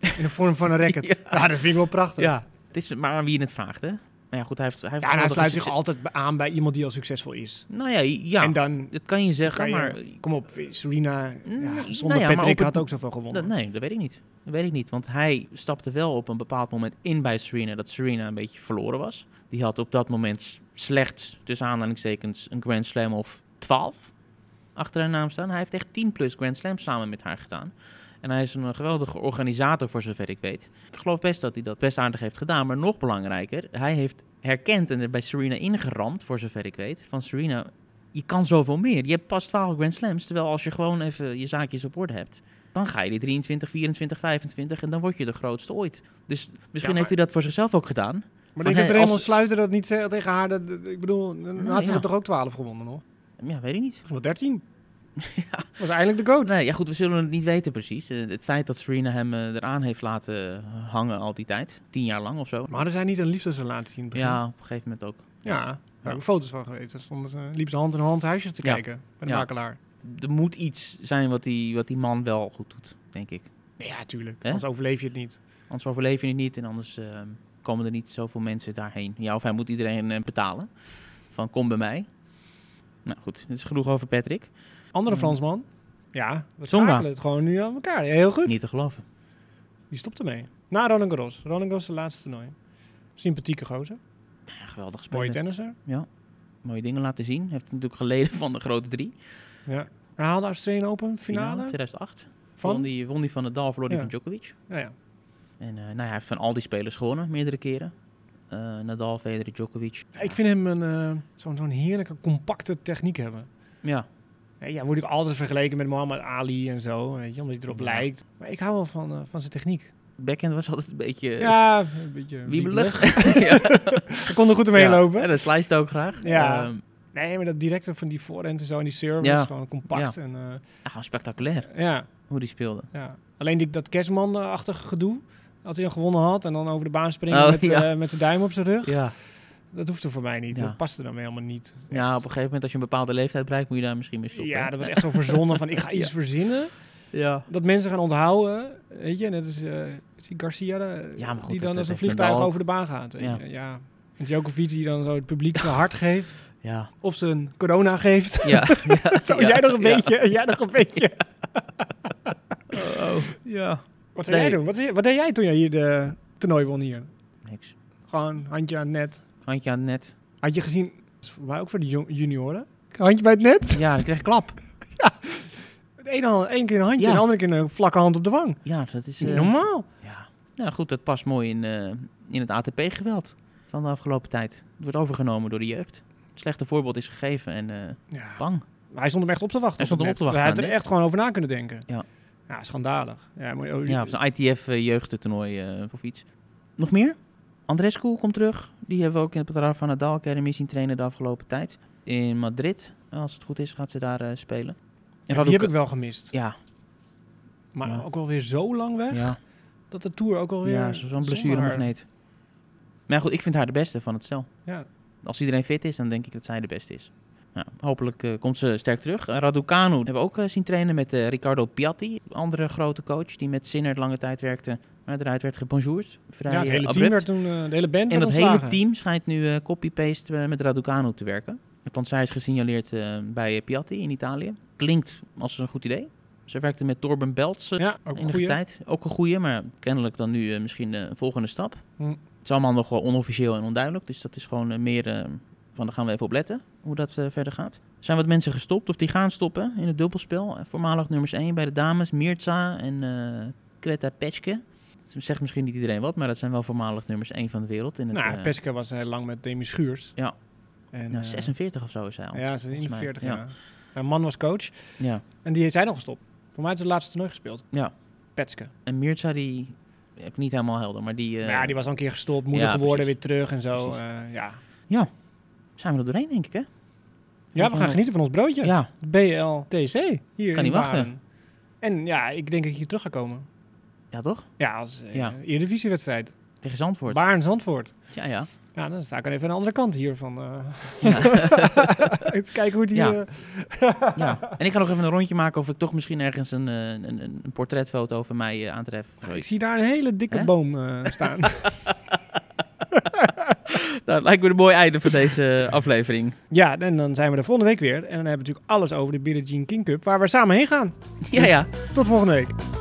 A: In de vorm van een racket. ja. dat vind ik wel prachtig. Ja,
C: Ja, het is maar aan wie je het vraagt, hè? Maar ja, goed, hij heeft... Hij heeft
A: en hij
C: geweldige
A: sluit zich
C: succes-
A: altijd be- aan bij iemand die al succesvol is.
C: Nou ja, ja,
A: En dan,
C: dat kan je zeggen,
A: kan je-
C: maar...
A: kom op, Serena, ja,
C: Nee,
A: zonder
C: nou ja, maar
A: Patrick
C: op het-
A: had ook zoveel gewonnen.
C: dat- nee, dat weet ik niet. Dat weet ik niet, want hij stapte wel op een bepaald moment in bij Serena... dat Serena een beetje verloren was. Die had op dat moment s- slechts, tussen aanhalingstekens, een Grand Slam of 12 achter haar naam staan. Hij heeft echt 10 plus Grand Slams samen met haar gedaan. En hij is een eh, geweldige organisator, voor zover ik weet. Ik geloof best dat hij dat best aardig heeft gedaan. Maar nog belangrijker, hij heeft herkend en er bij Serena ingeramd, voor zover ik weet. Van Serena, je kan zoveel meer. Je hebt pas 12 Grand Slams. Terwijl als je gewoon even je zaakjes op orde hebt, dan ga je die 23, 24, 25 en dan word je de grootste ooit. Dus misschien
A: maar-
C: heeft hij dat voor zichzelf ook gedaan.
A: Maar
C: Van,
A: denk dat
C: hey,
A: Raymond
C: als-
A: Sluiter dat niet zei tegen haar. Dat, dat- ik bedoel, dan
C: Nou,
A: had ze
C: ja.
A: er toch ook 12 gewonnen nog?
C: Ja, weet ik niet.
A: Wel 13. ja. Was eindelijk de goat.
C: Nee, ja, goed, we zullen het niet weten precies. Eh, het feit dat Serena hem eh, eraan heeft laten hangen al die tijd. Tien jaar lang of zo.
A: Maar hadden zij niet een liefdesrelatie in het begin?
C: Ja, op een gegeven moment ook.
A: Ja, daar heb ik foto's van geweest. Daar stonden ze, liepen ze hand in hand huisjes te
C: Ja.
A: kijken. Bij de
C: Ja.
A: makelaar.
C: Er moet iets zijn wat die, wat die man wel goed doet, denk ik.
A: Nee, ja, tuurlijk.
C: Hè?
A: Anders overleef je het niet.
C: Anders overleef je het niet en anders eh, komen er niet zoveel mensen daarheen. Ja, of hij moet iedereen eh, betalen. Van kom bij mij. Nou goed, dit is genoeg over Patrick.
A: Andere
C: Hmm.
A: Fransman. Ja, we
C: Tsonga.
A: schakelen het gewoon nu aan elkaar. Ja, heel goed.
C: Niet te geloven.
A: Die stopt ermee. Na Roland Garros. Roland Garros de laatste toernooi. Sympathieke gozer.
C: Ja, geweldig spelen.
A: Mooie tennisser.
C: Mooie dingen laten zien. Heeft natuurlijk geleden van de grote drie.
A: Ja. Hij haalde Australian Open finale.
C: 2008. Won
A: van?
C: die, won die van de Dal, verloor die
A: Ja.
C: van Djokovic.
A: Ja, ja.
C: En eh, nou ja, hij heeft van al die spelers gewonnen, meerdere keren. Eh, Nadal, Federer, Djokovic.
A: Ja, Ik vind hem een, eh, zo'n, zo'n heerlijke, compacte techniek hebben.
C: Ja,
A: Nee, ja, word ik altijd vergeleken met Muhammad Ali en zo, weet je, omdat hij erop
C: Ja.
A: lijkt. Maar ik hou wel van, eh, van zijn techniek.
C: backhand was altijd een beetje eh,
A: ja, een beetje
C: wiebelig.
A: Ik kon er goed omheen
C: Ja,
A: lopen.
C: En dat slijst ook graag.
A: Ja.
C: Ehm,
A: Nee, maar dat directe van die voorhand en zo en die service,
C: Ja.
A: gewoon compact. En, eh,
C: ja, gewoon spectaculair
A: ja,
C: hoe die speelde.
A: ja. Alleen die, dat kerstman-achtige gedoe, als hij dan gewonnen had en dan over de baan springen
C: Oh,
A: met,
C: ja.
A: eh, met de duim op zijn rug,
C: Ja.
A: dat hoefde voor mij niet.
C: Ja.
A: Dat paste dan helemaal niet.
C: ja, op een gegeven moment als je een bepaalde leeftijd bereikt, moet je daar misschien mee stoppen.
A: Ja,
C: hè?
A: dat was echt zo verzonnen van ik ga iets
C: Ja.
A: verzinnen.
C: ja.
A: dat mensen gaan onthouden, weet je, net als eh, is die Garcia, eh,
C: Ja, maar goed,
A: die dan
C: dat- dat
A: als een
C: heeft
A: vliegtuig
C: Nadal ook.
A: over de baan gaat. weet
C: Ja.
A: je. ja. En Djokovic die dan zo het publiek zijn hart geeft,
C: Ja.
A: of zijn corona geeft.
C: Ja.
A: Zo,
C: Ja.
A: jij nog een
C: Ja.
A: beetje, en jij nog een beetje.
C: Oh, ja.
A: Wat zou
C: Nee.
A: jij doen? Wat, zei- wat deed jij toen jij hier de toernooi won hier?
C: Niks.
A: Gewoon handje aan het net.
C: Handje aan het net.
A: Had je gezien, dat is voor mij ook voor de jong- junioren, handje bij het net.
C: Ja, dan krijg je klap.
A: De ene, hand- één keer een handje
C: Ja.
A: en de andere keer een vlakke hand op de wang.
C: Ja, dat is...
A: Niet
C: eh,
A: Normaal.
C: Ja. Nou goed, dat past mooi in, eh, in het ATP-geweld van de afgelopen tijd. Het wordt overgenomen door de jeugd. Het slechte voorbeeld is gegeven en eh
A: Ja.
C: bang.
A: Maar Hij stond hem echt op te wachten. op
C: Hij stond hem
A: het
C: op
A: net.
C: te
A: Hij
C: wachten aan
A: had er
C: het
A: echt gewoon over na kunnen denken.
C: Ja.
A: Ja, schandalig. Ja, maar, oh,
C: Ja, op zijn ITF-jeugdtoernooi eh, of iets. Nog meer? Andrescu komt terug. Die hebben we ook in het Padrava van Nadal Academy zien trainen de afgelopen tijd. In Madrid, als het goed is, gaat ze daar eh, spelen.
A: die
C: En
A: heb
C: Raduca-
A: ik wel gemist.
C: Ja,
A: Maar
C: Ja.
A: ook alweer zo lang weg
C: ja,
A: dat de Tour ook alweer...
C: ja zo- zo'n
A: zonder haar-
C: blessuremagneet. Maar ja, goed, ik vind haar de beste van het stel.
A: Ja.
C: Als iedereen fit is, dan denk ik dat zij de beste is. Nou, hopelijk eh, komt ze sterk terug. Eh, Raducanu hebben we ook eh, zien trainen met eh, Riccardo Piatti. Andere grote coach die met Sinner lange tijd werkte. Maar eruit werd gebonjourd. Vrij
A: Ja, het
C: eh,
A: hele team
C: abrupt.
A: werd toen, eh, de hele band
C: En
A: werd
C: dat
A: ontslagen.
C: hele team schijnt nu eh, copy-paste eh, met Raducanu te werken. Althans, zij is gesignaleerd eh, bij eh, Piatti in Italië. Klinkt als een goed idee. Ze werkte met Torben Belts eh,
A: Ja, ook een
C: enige
A: goeie.
C: tijd. Ook een goeie, maar kennelijk dan nu eh, misschien eh, een volgende stap.
A: Hm.
C: Het is allemaal nog wel onofficieel en onduidelijk. Dus dat is gewoon eh, meer eh, van, daar gaan we even op letten hoe dat eh, verder gaat. Er zijn wat mensen gestopt of die gaan stoppen in het dubbelspel. Eh, Voormalig nummers 1 bij de dames, Mirza en eh Kveta Petschke. Dat zegt misschien niet iedereen wat, maar dat zijn wel voormalig nummers 1 van de wereld. In het,
A: Nou,
C: eh,
A: Peske was heel lang met Demi Schuurs.
C: Ja.
A: En,
C: nou,
A: eh,
C: 46 of zo is hij al. Ja.
A: Ja, ze is
C: volgens mij.
A: 41
C: Ja.
A: jaar. Haar man was coach en die heeft zij nog gestopt. Voor mij is het laatste toernooi gespeeld.
C: Ja.
A: Petske.
C: En Mirza, die heb ik niet helemaal helder, maar die eh,
A: Maar ja, die was al een keer gestopt, moeder
C: ja,
A: geworden,
C: precies.
A: weer terug en zo.
C: Precies.
A: eh, ja.
C: zijn we er doorheen, denk ik, hè?
A: ja, we gaan genieten van ons broodje.
C: eh, Ja,
A: BLTC. Hier
C: Kan
A: in
C: niet wachten.
A: Baren. En ja, ik denk dat ik hier terug ga komen.
C: ja toch?
A: Ja, als eh,
C: Ja.
A: Eredivisiewedstrijd.
C: Tegen Zandvoort.
A: Baarn-Zandvoort.
C: ja, ja.
A: Ja, dan sta ik dan even aan de andere kant hier van... eh
C: Ja.
A: eens kijken hoe die...
C: Ja.
A: eh,
C: ja. En ik ga nog even een rondje maken of ik toch misschien ergens een, eh, een, een een portretfoto van mij eh, aantref. Of
A: ik
C: zoiets.
A: zie daar een hele dikke
C: Hè?
A: boom eh, staan.
C: Nou, lijkt me een mooi einde van deze eh, aflevering.
A: ja, en dan zijn we er volgende week weer. En dan hebben we natuurlijk alles over de Billie Jean King Cup, waar we samen heen gaan.
C: Ja, ja.
A: Tot volgende week.